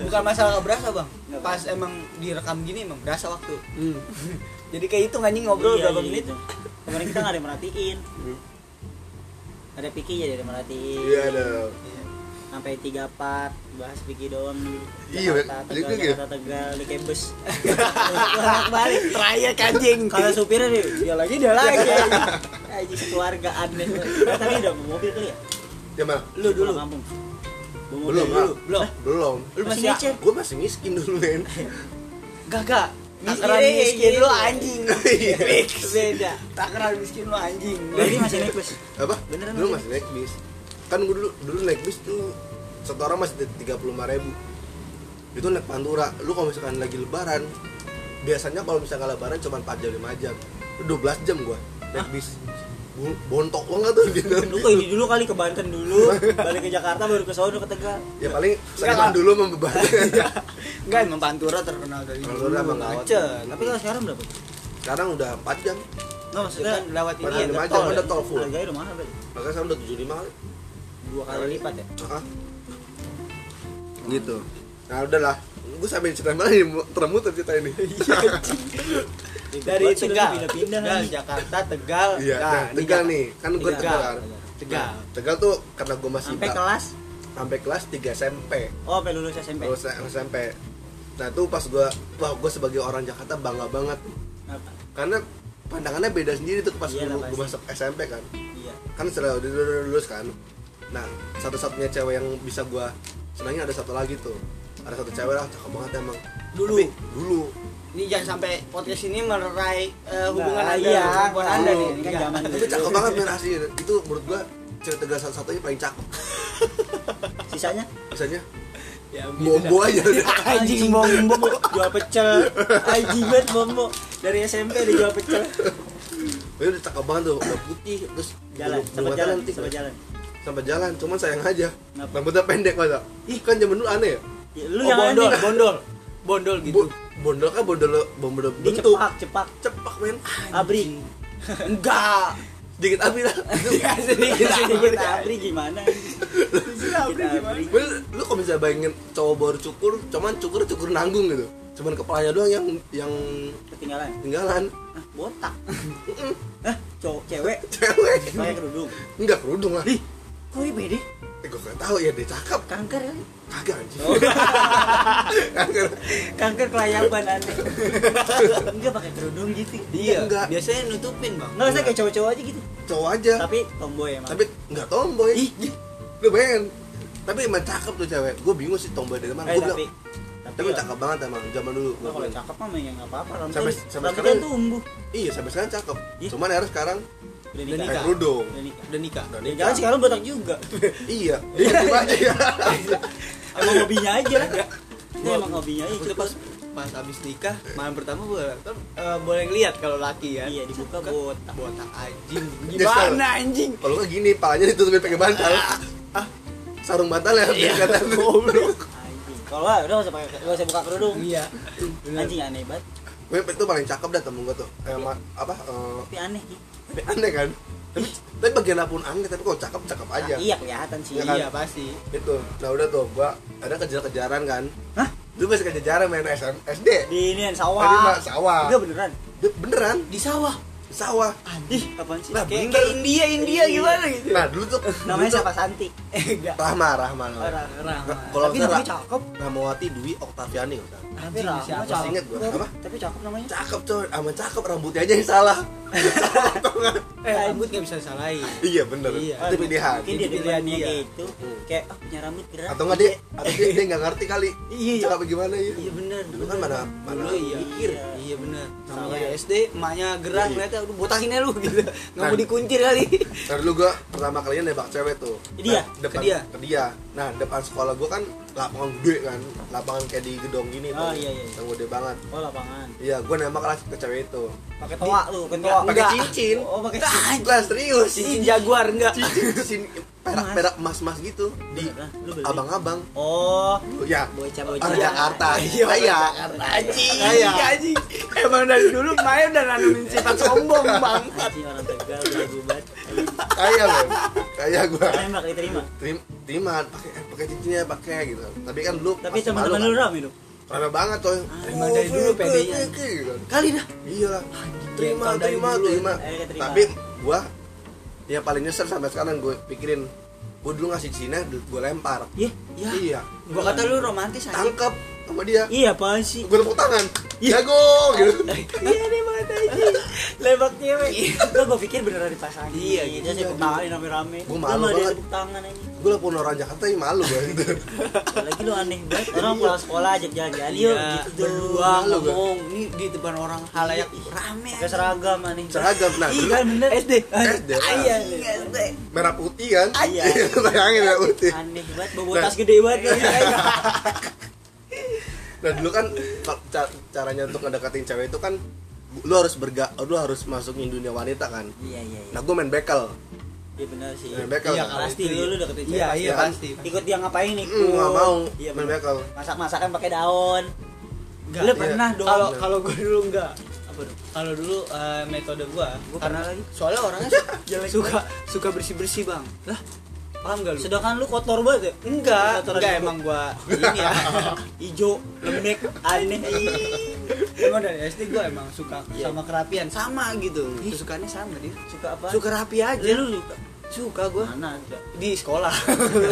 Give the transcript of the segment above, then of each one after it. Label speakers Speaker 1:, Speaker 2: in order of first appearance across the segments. Speaker 1: bukan masalah nggak berasa bang pas emang direkam gini emang berasa waktu
Speaker 2: Hmm.
Speaker 1: jadi kayak itu anjing ngobrol
Speaker 3: Iya,
Speaker 1: berapa
Speaker 3: iya,
Speaker 1: menit
Speaker 3: gitu. kemarin kita nggak ada yang merhatiin ada Piki jadi ada yang merhatiin
Speaker 4: Iya dong.
Speaker 3: sampai tiga part bahas Piki doang
Speaker 4: Iya,
Speaker 3: Jakarta,
Speaker 4: balik
Speaker 3: Tegal,
Speaker 4: lagi ya?
Speaker 3: Jakarta, Tegal, di kampus Bolak balik
Speaker 1: terakhir anjing
Speaker 3: kalau supirnya dia, dia lagi dia lagi
Speaker 1: Iya.
Speaker 3: aja keluarga aneh tadi udah mau mobil kali ya
Speaker 4: Ya mana?
Speaker 1: lu dulu
Speaker 3: Pulang kampung Bawa mobil
Speaker 4: Belum,
Speaker 3: dulu
Speaker 4: Bang.
Speaker 1: belum
Speaker 4: Belum.
Speaker 1: lu
Speaker 3: masih
Speaker 1: masih
Speaker 3: ngecer
Speaker 4: Gue masih miskin dulu men.
Speaker 1: gagak takaran
Speaker 3: Iya, iya,
Speaker 1: miskin
Speaker 3: iya.
Speaker 1: lu anjing
Speaker 4: Iya.
Speaker 1: Fix. beda takaran miskin lu anjing
Speaker 3: lagi masih naik bus
Speaker 4: Apa?
Speaker 3: Beneran
Speaker 4: dulu
Speaker 3: masih
Speaker 4: masih naik bis. Kan gue dulu dulu naik bis tuh satu orang masih tiga puluh ribu. Itu naik pantura. Lu kalau misalkan lagi lebaran, biasanya kalau misalkan lebaran cuma 4 jam 5 jam. Lu 12 jam gua naik bis. Bu- Bontok banget tuh gitu. di dalam
Speaker 3: lu
Speaker 4: bis.
Speaker 3: kok ini dulu kali ke Banten dulu balik ke Jakarta baru ke Solo ke Tegal
Speaker 4: Ya paling
Speaker 1: Enggak.
Speaker 4: sakit dulu membebani.
Speaker 1: enggak emang pantura terkenal dari dulu
Speaker 4: Pantura, Bang.
Speaker 1: macet
Speaker 3: tapi kalau sekarang berapa
Speaker 4: Sekarang udah 4 jam.
Speaker 3: nggak maksudnya
Speaker 1: kan lewat ini
Speaker 4: Padahal
Speaker 1: ada
Speaker 4: lima
Speaker 1: tol
Speaker 4: jam
Speaker 1: ya?
Speaker 4: ada tol full.
Speaker 3: Iya, harganya udah mahal berarti
Speaker 4: Makanya sekarang udah 75 kali.
Speaker 3: dua kali lipat ya
Speaker 4: Heeh. Gitu. Nah, udahlah. Gue sampai cerita mana nih, termut cerita ini.
Speaker 3: Iya.
Speaker 1: dari
Speaker 3: Buat sih lu
Speaker 1: Tegal
Speaker 3: pindah-pindah
Speaker 1: Tegal,
Speaker 3: lagi.
Speaker 1: Jakarta Tegal
Speaker 4: Iya,
Speaker 1: Nah,
Speaker 4: nah,
Speaker 1: ini
Speaker 4: Tegal
Speaker 1: Jak-
Speaker 4: nih. Kan gue
Speaker 1: Tegal.
Speaker 4: Tegal. Nah, Iya.
Speaker 1: Tegal
Speaker 4: Tegal tuh karena gue masih
Speaker 3: sampai
Speaker 4: ba-
Speaker 3: kelas
Speaker 4: sampai kelas 3 SMP.
Speaker 3: oh sampai lulus SMP
Speaker 4: Lulus SMP. Nah, itu pas gue wah, gue sebagai orang Jakarta bangga banget
Speaker 3: Apa?
Speaker 4: karena pandangannya beda sendiri tuh pas gue
Speaker 3: Iyalah, Iya, pasti.
Speaker 4: masuk SMP kan.
Speaker 3: iya
Speaker 4: kan setelah udah udah- udah lulus kan nah satu-satunya cewek yang bisa gua senangnya ada satu lagi tuh ada satu cewek lah cakep banget emang
Speaker 1: dulu
Speaker 4: Tapi dulu
Speaker 1: ini jangan sampai podcast ini melerai eh, hubungan
Speaker 3: Nah,
Speaker 1: anda
Speaker 3: iya,
Speaker 1: hubungan anda nih
Speaker 3: kan
Speaker 1: Enggak.
Speaker 3: zaman
Speaker 4: tapi
Speaker 3: dulu.
Speaker 4: cakep banget men asli itu menurut gua cewek tegal satu-satunya paling cakep
Speaker 3: sisanya
Speaker 4: misalnya
Speaker 1: Ya,
Speaker 3: Iya.
Speaker 4: bombo aja udah
Speaker 1: anjing bombo
Speaker 3: jual pecel anjing banget bombo dari SMP udah jual pecel
Speaker 4: Tapi udah cakep banget tuh udah putih terus
Speaker 3: jalan
Speaker 4: bulu-
Speaker 3: sampai
Speaker 4: bulu
Speaker 3: jalan
Speaker 4: cantik,
Speaker 3: sampai
Speaker 4: men.
Speaker 3: jalan
Speaker 4: sampai jalan cuman sayang aja
Speaker 3: Kenapa?
Speaker 4: rambutnya pendek masa ih kan zaman dulu aneh ya
Speaker 3: Ya, lu
Speaker 1: Oh,
Speaker 3: yang aneh
Speaker 1: bondol bondol bondol gitu
Speaker 4: Bo- bondol kan bondol bondol
Speaker 3: di
Speaker 4: bentuk
Speaker 3: cepak cepak
Speaker 4: cepak men
Speaker 3: abri
Speaker 1: enggak
Speaker 4: dikit api lah
Speaker 1: ya sedikit
Speaker 3: sedikit abri gimana
Speaker 1: abri gimana?
Speaker 4: Bener, lu kalau bisa bayangin cowok baru cukur, cuman cukur cukur nanggung gitu. Cuman kepalanya doang yang yang
Speaker 3: ketinggalan
Speaker 4: tinggalan.
Speaker 3: ah botak ah cowok cewek
Speaker 4: Cewek.
Speaker 3: pakai kerudung
Speaker 4: Enggak kerudung lah.
Speaker 3: Ih, kok ini pede
Speaker 4: Eh, gue gak tahu ya dia cakep.
Speaker 3: Oh, iya, kanker kali
Speaker 4: Kagak anjing.
Speaker 3: Oh.
Speaker 4: Kagak.
Speaker 3: kanker kelayaban aneh enggak pakai kerudung gitu
Speaker 1: iya
Speaker 4: Enggak.
Speaker 1: biasanya nutupin bang
Speaker 3: enggak usah kayak cowok-cowok aja gitu
Speaker 4: Cowok aja.
Speaker 3: tapi tomboy emang
Speaker 4: Tapi enggak tomboy.
Speaker 3: Ih.
Speaker 4: Lu bayangin. Tapi emang cakep tuh cewek. Gue bingung sih tomboy dari mana.
Speaker 3: eh,
Speaker 4: Gue
Speaker 3: tapi
Speaker 4: bilang, tapi cakep banget emang zaman dulu.
Speaker 3: Nah, kalau cakep mah ya nggak apa-apa rambutnya
Speaker 4: Sampai- sampai
Speaker 3: rambutnya
Speaker 4: sekarang-
Speaker 3: tuh umbuh
Speaker 4: Iya, sampai sekarang cakep.
Speaker 3: Ih.
Speaker 4: Cuman era sekarang
Speaker 3: udah
Speaker 1: nikah.
Speaker 4: kayak kerudung.
Speaker 3: udah nikah
Speaker 1: udah nikah
Speaker 4: Dan
Speaker 3: Ya, jangan sekarang botak juga
Speaker 4: Iya. Iya. Iya.
Speaker 3: emang hobinya aja lah itu emang hobinya aja
Speaker 1: itu pas pas abis nikah malam pertama gue kan eh, boleh ngeliat kalau laki ya
Speaker 3: iya dibuka botak
Speaker 1: botak anjing
Speaker 4: Kan? Nyesel.
Speaker 1: gimana anjing
Speaker 4: Kalau nggak gini, palanya ditutupin pakai bantal. Ah, sarung bantal ya.
Speaker 1: Iya.
Speaker 4: Kata goblok.
Speaker 3: anjing kalau nggak, udah nggak usah pakai nggak usah buka kerudung
Speaker 1: iya bener.
Speaker 3: anjing aneh banget
Speaker 4: itu paling cakep dah temen gue tuh. Eh, ma- apa? eh,
Speaker 3: tapi aneh
Speaker 4: tapi aneh kan? Tapi, tapi bagian apapun aneh, tapi kalau cakep cakep aja.
Speaker 3: Ah, iya kelihatan sih
Speaker 4: Iya kan?
Speaker 1: iya pasti
Speaker 4: Itu. Nah udah tuh, gua ada kejar-kejaran kan.
Speaker 3: Hah?
Speaker 4: Lu masih kejar-kejaran main SM, SD.
Speaker 3: di ini yang
Speaker 4: Tadi
Speaker 3: sawah
Speaker 4: mah sawah.
Speaker 3: enggak beneran
Speaker 4: Dia beneran
Speaker 1: di sawah
Speaker 4: sawah.
Speaker 3: ih apaan sih
Speaker 4: Nah,
Speaker 1: kayak,
Speaker 4: bener.
Speaker 1: kayak India India gimana gitu
Speaker 4: Nah dulu tuh. dulu
Speaker 3: namanya
Speaker 4: tuh-
Speaker 3: siapa Santi
Speaker 1: eh enggak
Speaker 4: Rahma, Rahma. Rahma.
Speaker 3: orang
Speaker 1: Rahma.
Speaker 4: Kalau
Speaker 3: tapi
Speaker 4: nggak
Speaker 3: namanya
Speaker 4: salah,
Speaker 3: cakep
Speaker 4: Rahmawati Dwi Oktaviani kalau nggak salah.
Speaker 3: tapi
Speaker 1: Anjing,
Speaker 3: Rahma
Speaker 1: siapa sih?
Speaker 3: cakep
Speaker 4: Ingat gua. Apa?
Speaker 3: tapi cakep namanya
Speaker 4: Cakep coy, sama cakep rambutnya aja yang salah.
Speaker 1: eh rambut nggak bisa disalahin
Speaker 4: iya bener.
Speaker 1: Iya.
Speaker 4: Itu pilihan.
Speaker 3: mungkin dia
Speaker 1: Itu
Speaker 3: pilihan
Speaker 1: pilihan
Speaker 3: dia
Speaker 1: dia.
Speaker 3: gitu
Speaker 4: Hmm.
Speaker 3: kayak ah punya rambut gerak
Speaker 4: atau enggak dia atau dia dia nggak ngerti kali
Speaker 3: Iya, iya.
Speaker 4: cakep gimana ya
Speaker 1: iya bener
Speaker 4: Iya. dulu kan mana mana
Speaker 1: dulu iya
Speaker 3: mikir.
Speaker 1: iya bener
Speaker 3: Salah
Speaker 1: namanya
Speaker 3: ya.
Speaker 1: SD emaknya gerak
Speaker 4: Iya.
Speaker 1: ngeliatnya udah botakin aja lu gitu nggak mau
Speaker 4: Kan.
Speaker 1: dikuncir kali
Speaker 4: Nah, dulu gua pertama kalinya nembak cewek tuh
Speaker 3: Ke dia?
Speaker 4: Nah, depan
Speaker 1: Ke dia?
Speaker 4: ke dia nah depan sekolah gua kan lapangan gede kan lapangan kayak di gedong gini tuh
Speaker 3: Oh, iya, iya.
Speaker 4: yang gede banget
Speaker 3: oh lapangan
Speaker 4: iya gua nembak lah ke cewek itu
Speaker 3: pakai toa lu pakai toa
Speaker 1: Enggak.
Speaker 4: pakai cincin
Speaker 3: oh pakai
Speaker 4: lah serius
Speaker 1: cincin jaguar enggak
Speaker 4: cincin cincin perak perak emas emas gitu di
Speaker 3: Beneran? Lu beli?
Speaker 4: abang-abang
Speaker 3: oh
Speaker 4: ya
Speaker 3: bocah bocah
Speaker 4: orang Jakarta saya
Speaker 1: anjing
Speaker 4: Iya.
Speaker 1: anjing emang dari dulu Maya udah nanemin sifat sombong bang
Speaker 3: anjing orang tegal bego banget
Speaker 4: saya loh kayak gua
Speaker 3: Tembak diterima.
Speaker 4: terima terima pakai pakai cincinnya pakai gitu tapi kan lu
Speaker 3: Tapi
Speaker 4: pasti
Speaker 3: teman-teman lu
Speaker 4: malu kan.
Speaker 3: rame lu.
Speaker 4: rame banget coy
Speaker 1: terima dari
Speaker 4: Oh,
Speaker 1: dulu
Speaker 4: oke,
Speaker 1: PD-nya.
Speaker 4: oke, oke, gitu.
Speaker 1: kali dah
Speaker 4: iya lah terima
Speaker 1: Jengkol dari
Speaker 4: terima
Speaker 1: dulu.
Speaker 4: terima
Speaker 3: Akhirnya keterima.
Speaker 4: tapi gua yang paling nyesel sampai sekarang gue pikirin gua dulu ngasih cincinnya gue lempar
Speaker 3: Iya.
Speaker 1: ya
Speaker 4: iya
Speaker 1: gua kata lu romantis aja
Speaker 4: tangkep sama dia
Speaker 3: Iya apaan sih?
Speaker 4: gue tepuk tangan
Speaker 1: Iya.
Speaker 4: jago gitu
Speaker 3: Iya nih banget aja. Lembak cewek. Gua gua pikir beneran dipasangin.
Speaker 1: Iya, gitu.
Speaker 3: Dia tepuk tangan rame-rame.
Speaker 4: Gua malu
Speaker 3: Sama dia
Speaker 4: banget.
Speaker 3: tepuk tangan aja.
Speaker 4: gue lah orang Jakarta yang malu gue gitu
Speaker 3: Lagi lu aneh banget. Orang pulang sekolah ajak jalan-jalan yuk
Speaker 1: Iya,
Speaker 3: gitu dong.
Speaker 1: berdua
Speaker 4: Malu gua.
Speaker 1: ngomong ini di depan orang halayak rame
Speaker 3: Pakai seragam aneh.
Speaker 4: seragam nah
Speaker 3: Iya
Speaker 4: dulu
Speaker 3: kan bener.
Speaker 1: SD
Speaker 4: SD.
Speaker 3: Iya.
Speaker 1: SD
Speaker 4: merah putih kan
Speaker 3: Iya.
Speaker 4: bayangin merah putih
Speaker 3: Aneh banget bawa
Speaker 4: Nah.
Speaker 3: tas gede banget.
Speaker 4: nah dulu kan ka- ca- caranya untuk ngedekatin cewek itu kan bu- lu harus berga lu harus masukin dunia wanita kan
Speaker 3: Iya iya iya.
Speaker 4: nah gue main bekel
Speaker 3: Iya bener sih.
Speaker 4: main bekel
Speaker 1: Iya,
Speaker 4: kan.
Speaker 1: kelas.
Speaker 3: Pasti lu lu deketin
Speaker 1: iya
Speaker 3: cewek.
Speaker 1: iya
Speaker 4: Ya.
Speaker 1: pasti
Speaker 3: Ikut dia ngapain nih?
Speaker 4: Mm, nggak mau
Speaker 3: Iya
Speaker 4: main
Speaker 3: bener.
Speaker 4: bekel
Speaker 3: Masak-masakan pakai daun.
Speaker 1: Enggak.
Speaker 3: Lu
Speaker 4: Iya.
Speaker 3: pernah dong.
Speaker 1: kalau kalau gua dulu enggak
Speaker 3: apa dong?
Speaker 1: kalau dulu eh, metode gua,
Speaker 3: Gua
Speaker 1: karena
Speaker 3: pernah lagi.
Speaker 1: soalnya orangnya su-
Speaker 3: Iya,
Speaker 1: suka suka bersih bersih bang lah paham gak lu
Speaker 3: Sedangkan lu kotor banget ya?
Speaker 1: enggak
Speaker 3: Kotoran
Speaker 1: enggak
Speaker 3: lu.
Speaker 1: emang gua ini ya
Speaker 3: Ijo, lembek, aneh.
Speaker 1: emang dari SD gua emang suka
Speaker 3: Iya.
Speaker 1: sama kerapian sama gitu kesukaannya sama dia
Speaker 3: Suka apa?
Speaker 1: suka rapi aja
Speaker 3: Ya, lu suka.
Speaker 1: suka gua
Speaker 3: Mana? ada?
Speaker 1: di sekolah